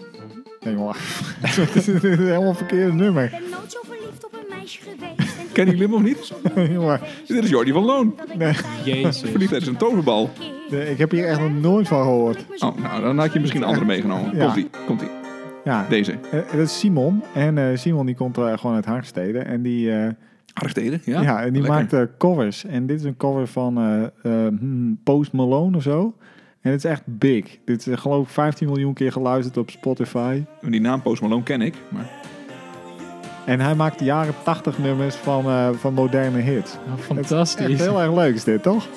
A: Nee, jongen. Dit is een helemaal verkeerde nummer.
E: ben nooit zo verliefd op een meisje geweest. En
B: Ken
E: ik
B: die Lim nog
E: was
B: niet?
E: opnieuw
A: Jongen.
E: geweest.
B: Dit is Jordi van Loon.
E: Dat ik
A: Nee.
E: zei,
C: Jezus.
E: dat ik
B: Verliefdheid is een toverbal.
A: Nee, ik heb hier echt nog nooit van gehoord.
B: Oh, nou, dan had je misschien een andere meegenomen.
A: Ja.
B: Komt-ie, komt-ie.
A: Ja,
B: Deze.
A: eh, dat is Simon. En eh, Simon die komt eh, gewoon uit Haagstede. En die, eh,
B: Hartsteden,
A: ja,
B: ja?
A: en die
B: lekker.
A: maakt eh, covers. En dit is een cover van eh, eh, hmm, Post Malone of zo. En het is echt big. Dit is eh, geloof ik 15 miljoen keer geluisterd op Spotify.
B: Die naam Post Malone ken ik, maar...
A: En hij maakt de jaren 80 nummers van, eh, van moderne hits.
C: Nou,
A: Het is
C: fantastisch.
A: echt heel erg leuk is dit, toch?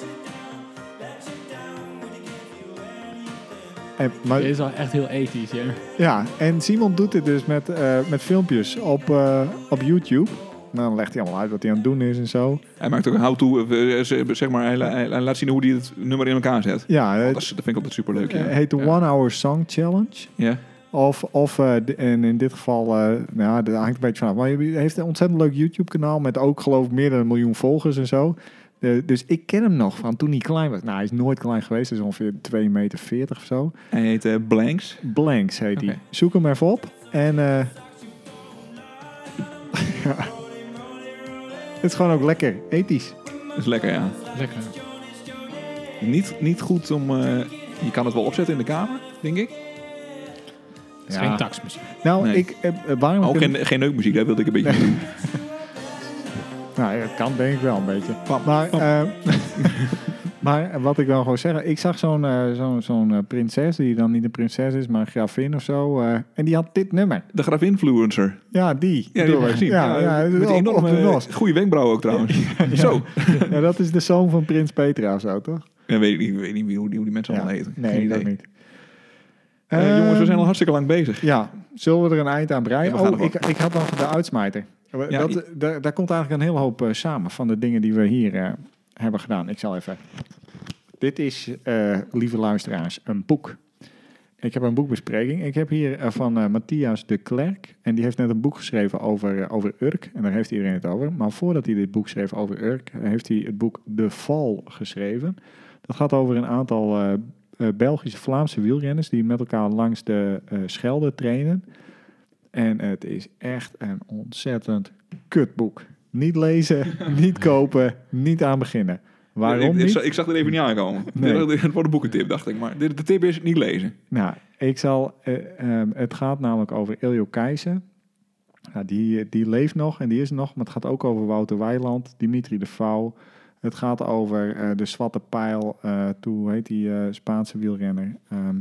A: En, maar,
C: Dit is wel echt heel ethisch, ja.
A: ja, en Simon doet dit dus met, eh, met filmpjes op, eh, op YouTube. Nou, dan legt hij allemaal uit wat hij aan het doen is en zo.
B: Hij maakt ook een how-to, eh, eh, zeg- zeg maar, hij, la- hij laat zien hoe hij het nummer in elkaar zet.
A: Ja,
B: Dat,
A: het
B: is- dat vind ik altijd superleuk,
A: eh,
B: ja.
A: heet de
B: Ja.
A: One Hour Song Challenge.
B: Ja.
A: Of, of eh, d- en in dit geval, eh nou, dat hangt een beetje vanaf. Maar hij heeft een ontzettend leuk YouTube-kanaal met ook, geloof ik, meer dan een miljoen volgers en zo. Eh, dus ik ken hem nog van toen hij klein was. Nou, hij is nooit klein geweest, hij is ongeveer 2,40 meter of zo.
B: Hij heet eh, Blanks.
A: Blanks heet hij.
B: Oké.
A: Zoek hem even op. En eh, ja. het is gewoon ook lekker ethisch.
B: Dat is lekker, ja.
C: Lekker.
B: Niet, niet goed om... eh, je kan het wel opzetten in de kamer, denk ik.
C: Het is geen taxmuziek.
A: Nou,
B: Nee.
A: ik, eh, eh, waarom...
B: Ook geen, geen neukmuziek, daar wilde ik een beetje mee doen.
A: Nou, het kan denk ik wel een beetje.
B: Pam,
A: Maar,
B: pam.
A: eh, maar wat ik wel gewoon zeggen, ik zag zo'n eh, zo'n zo'n eh, prinses, die dan niet een prinses is, maar een gravin of zo. eh, en die had dit nummer.
B: De grafinfluencer.
A: Ja, die.
B: Ja, die
A: bedoel
B: hebben we
A: ik.
B: gezien. Eh,
A: Ja, ja,
B: met die
A: op- op de
B: enorme
A: nos.
B: goede wenkbrauwen ook trouwens. Zo.
A: Ja, dat is de zoon van prins Petra of zo, toch?
B: Ja, weet ik, niet- ik weet niet wie- hoe die, hoe die mensen allemaal
A: Ja.
B: heten.
A: Nee,
B: Geen
A: dat
B: idee.
A: niet.
B: Eh,
A: Ehm,
B: jongens, we zijn al hartstikke lang bezig.
A: Ja, zullen we er een eind aan breien?
B: Ja, we gaan
A: oh,
B: ervoor.
A: ik, ik had nog de uitsmijter.
B: Ja,
A: dat,
B: i-
A: daar, daar komt eigenlijk een hele hoop eh, samen van de dingen die we hier eh, hebben gedaan. Ik zal even... Dit is, eh, lieve luisteraars, een boek. Ik heb een boekbespreking. Ik heb hier eh, van eh, Matthias de Klerk. En die heeft net een boek geschreven over, eh, over Urk. En daar heeft iedereen het over. Maar voordat hij dit boek schreef over Urk, heeft hij het boek De Val geschreven. Dat gaat over een aantal eh, eh, Belgische Vlaamse wielrenners die met elkaar langs de eh, Schelde trainen. En het is echt een ontzettend kutboek. Niet lezen, niet kopen, niet aan beginnen.
B: ik,
A: Waarom
B: ik,
A: niet?
B: zag- ik zag er even niet aankomen.
A: Nee.
B: Dit- Het wordt een boekentip, dacht ik. Maar de, de tip is niet lezen.
A: Nou, ik zal. eh, ehm, het gaat namelijk over Iljo Keizer. Nou, die, die leeft nog en die is er nog. Maar het gaat ook over Wouter Weiland, Dimitri de Vouw. Het gaat over eh, de zwarte pijl. eh toe, hoe heet die eh, Spaanse wielrenner? Ehm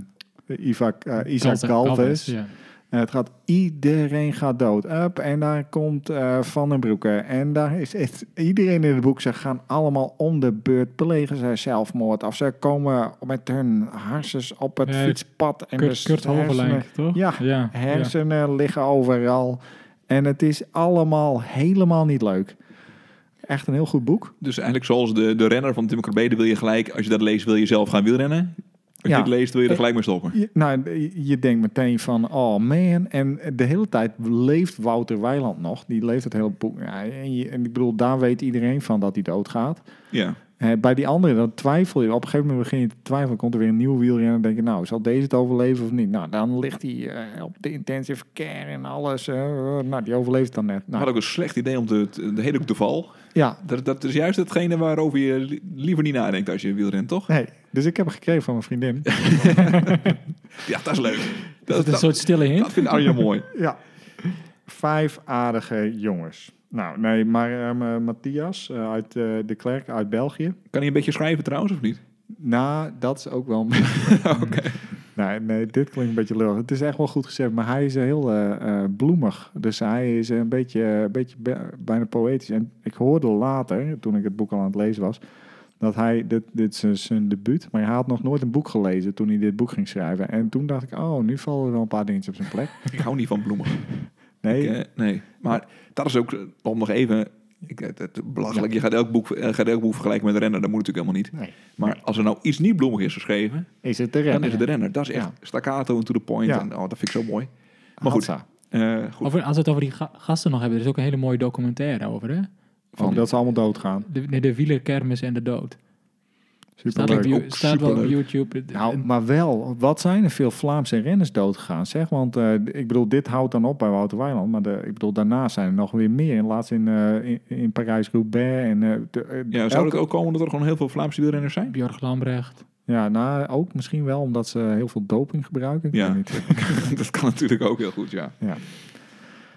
A: Isaac, eh Isaac Galvez.
C: Ja.
A: Eh, het gaat, iedereen gaat dood. Up, en daar komt eh, Van den Broeken. En daar is echt iedereen in het boek. Ze gaan allemaal om de beurt. Plegen ze zelfmoord. Of ze komen met hun hersens op het
C: Ja,
A: fietspad. En
C: Kurt,
A: dus
C: Kurt
A: de hersenen-
C: Hovelijn, toch?
A: Ja,
C: ja. ja.
A: Hersenen liggen overal. En het is allemaal helemaal niet leuk. Echt een heel goed boek.
B: Dus eigenlijk zoals de, de renner van Tim Corbede wil je gelijk... Als je dat leest, wil je zelf gaan wielrennen. Als
A: Ja.
B: je het leest, wil
C: Eh.
B: je er gelijk mee stoppen.
A: Je, nou, je denkt meteen van, oh man. En de hele tijd leeft Wouter Weiland nog. Die leeft het hele boek. Ja, en, je- en ik bedoel, daar weet iedereen van dat hij doodgaat.
C: Nou.
B: Ja.
A: Eh, bij die andere, dan twijfel je. Op een gegeven moment begin je te twijfelen. Komt er weer een nieuw wielrenner. Dan denk je, nou, zal deze het overleven of niet? Nou, dan ligt hij eh, op de intensive care en alles. eh, eh, nou, die overleeft het dan net.
B: Maar
A: Nou,
B: ook een slecht idee om te, te- de hele hoek te val.
A: ja,
B: Dat, dat is juist hetgene waarover je li- liever niet nadenkt als je wielrent, toch?
A: nee. Dus ik heb hem gekregen van mijn vriendin.
B: Ja, dat is leuk.
C: Is dat een soort stille hint?
B: dat vindt Arjan mooi.
A: Ja. Vijf aardige jongens. Nou, nee, maar ehm, eh, Matthias eh, uit eh, de Klerk uit België.
B: Kan hij een beetje schrijven trouwens, of niet?
A: Nou, dat is ook wel... nee, nee, dit klinkt een beetje lullig. Het is echt wel goed gezegd, maar hij is heel eh, eh, bloemig. Dus hij is een beetje, eh, een beetje be- bijna poëtisch. En ik hoorde later, toen ik het boek al aan het lezen was... dat hij, dit, dit is zijn- zijn debuut... maar hij had nog nooit een boek gelezen toen hij dit boek ging schrijven. En toen dacht ik, oh, nu vallen er wel een paar dingetjes op zijn plek.
B: Ik hou niet van bloemen.
A: Nee,
B: Ik, eh, nee, maar dat is ook eh, om nog even. Ik, het, het, belachelijk. Je gaat elk, boek, eh, gaat elk boek vergelijken met de renner. Dat moet natuurlijk helemaal niet.
A: nee.
B: Maar als er nou iets niet bloemig is geschreven,
A: Is het de renner?
B: dan is het de renner. Dat is echt
A: Ja.
B: staccato en to the point.
A: Ja.
B: En, oh, dat vind ik zo mooi. Maar goed.
A: Hatsa.
B: Eh, goed.
C: Over, als we het over die ga- gasten nog hebben, er is ook een hele mooie documentaire over, hè?
A: Van dat ze allemaal doodgaan.
C: De, nee, de wielerkermis en de dood. Staat, op,
A: Superleuk.
C: you- staat wel op
B: superleuk.
C: YouTube. Het-
A: Nou,
C: het-
A: maar wel, wat zijn er veel Vlaamse renners doodgegaan, zeg? Want eh, ik bedoel, dit houdt dan op bij Wouter Weiland. Maar de, ik bedoel, daarna zijn er nog weer meer. En laatst in, eh, in, in Parijs-Roubaix. En, eh, de- eh,
B: ja, zou
A: elke-
B: het ook komen dat er gewoon heel veel Vlaamse wielrenners zijn?
C: Björk Lambrecht.
A: ja, nou, ook misschien wel omdat ze heel veel doping gebruiken. Ik
B: Ja. Eh,
A: weet niet.
B: dat kan natuurlijk ook heel goed, ja.
A: Ja.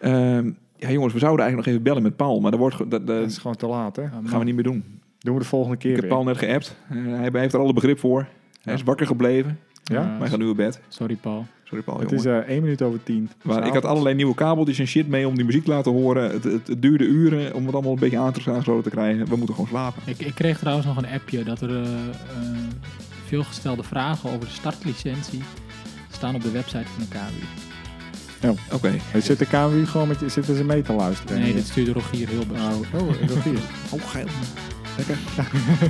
B: Ehm, ja, jongens, we zouden eigenlijk nog even bellen met Paul. Maar dat, wordt, ge- dat, dat
A: Dat is gewoon te laat, hè?
B: gaan we niet meer doen.
A: Doen we de volgende keer
B: Ik heb
A: weer.
B: Paul net geappt. Eh, hij heeft er alle begrip voor. Hij is wakker gebleven.
A: Ja?
C: Eh,
B: Wij gaan nu op bed.
C: Sorry, Paul.
B: Sorry Paul,
A: Het
B: jongen.
A: is eh 1 minuut over 10.
B: Maar ik had allerlei nieuwe kabeltjes en shit mee om die muziek te laten horen. Het, het, het duurde uren om het allemaal een beetje aangesloten te krijgen. We moeten gewoon slapen.
C: Ik, ik kreeg trouwens nog een appje dat er eh, eh, veel gestelde vragen over de startlicentie staan op de website van de KWU.
B: Oké.
A: Zit de KMU gewoon met je- zitten ze mee te luisteren?
C: Nee, dit stuurde Rogier Hilbers.
A: Oh, oh, dat is hier.
B: Oh, geil. Lekker.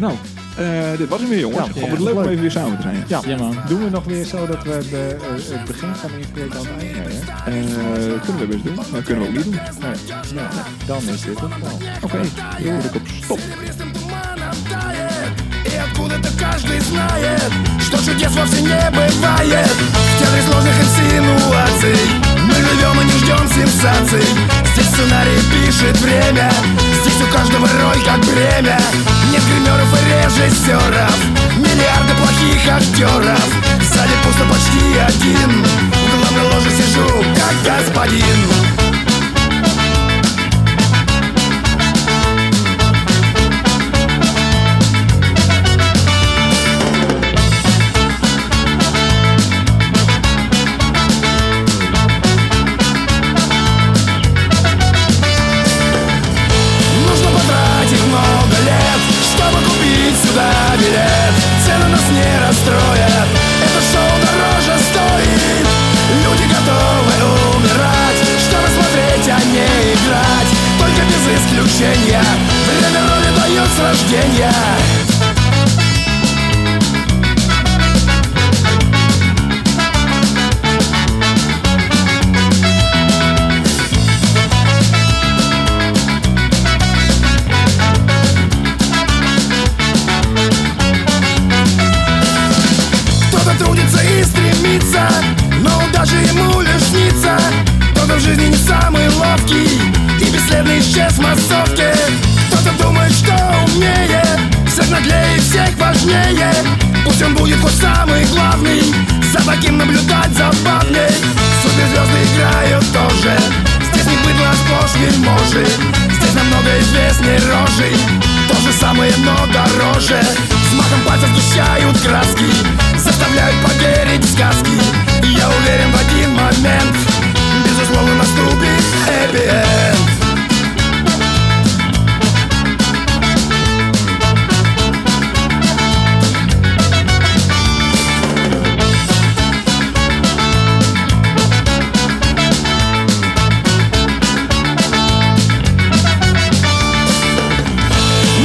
B: nou, eh, dit was hem weer, jongens.
A: Ja.
B: God, wat leuk om
A: Leuk.
B: even weer samen te zijn.
A: Ja.
C: Ja, man.
A: Doen we nog weer zo dat we de, eh, het begin gaan inspreken aan het einde? hè?
B: Eh, kunnen we best doen. Maar kunnen we ook niet doen. Oké.
A: Nee, nee, dan is dit het wel.
B: Dan druk op stop.
F: серебристым туманом тает И откуда-то каждый знает Что чудес вовсе не бывает В театре сложных инсинуаций Мы живем и не ждем сенсаций Здесь сценарий пишет время Здесь у каждого роль как бремя Нет гримеров и режиссеров Миллиарды плохих актеров Сзади пусто почти один В главной ложе сижу как господин Нужно потратить много лет, чтобы купить сюда билет Цены нас не расстроят, это шоу дороже стоит Люди готовы умирать, чтобы смотреть, а не играть Только без исключения, время роли дает с рождения Кто-то трудится и стремится, но даже ему лишь снится Кто-то в жизни не самый ловкий и бесследно исчез в массовке Кто-то думает, что умнее, всех наглее, всех важнее Пусть он будет хоть самый главный, за таким наблюдать забавней Суперзвезды играют тоже, здесь не быдло, а сплошь вельможи Здесь намного известней рожей, то же самое, но дороже Взмахом пальцев сгущают краски Заставляют поверить в сказки И я уверен в один момент Безусловно наступит happy end.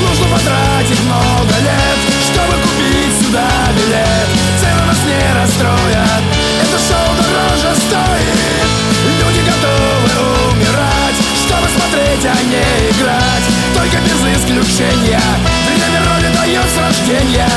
F: Нужно потратить много лет, чтобы купить сюда билет Цены нас не расстроят, это шоу дороже стоит Люди готовы умирать, чтобы смотреть, а не играть Только без исключения, время роли дает с рождения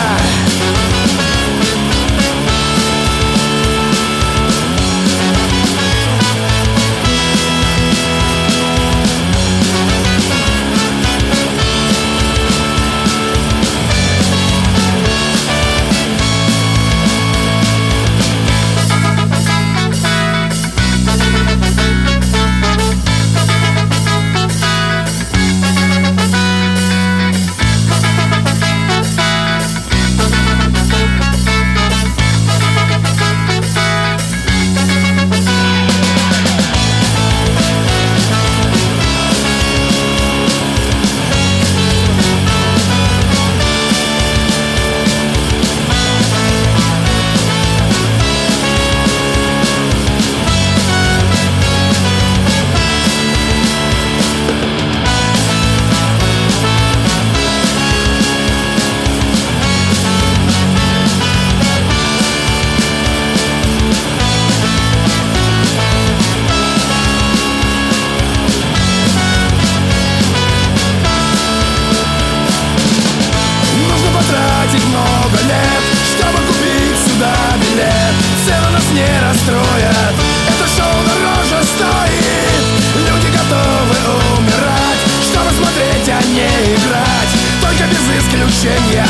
F: Нужно потратить много лет, чтобы купить сюда билет Цены нас не расстроят, это шоу дороже стоит Люди готовы умирать, чтобы смотреть, а не играть Только без исключения,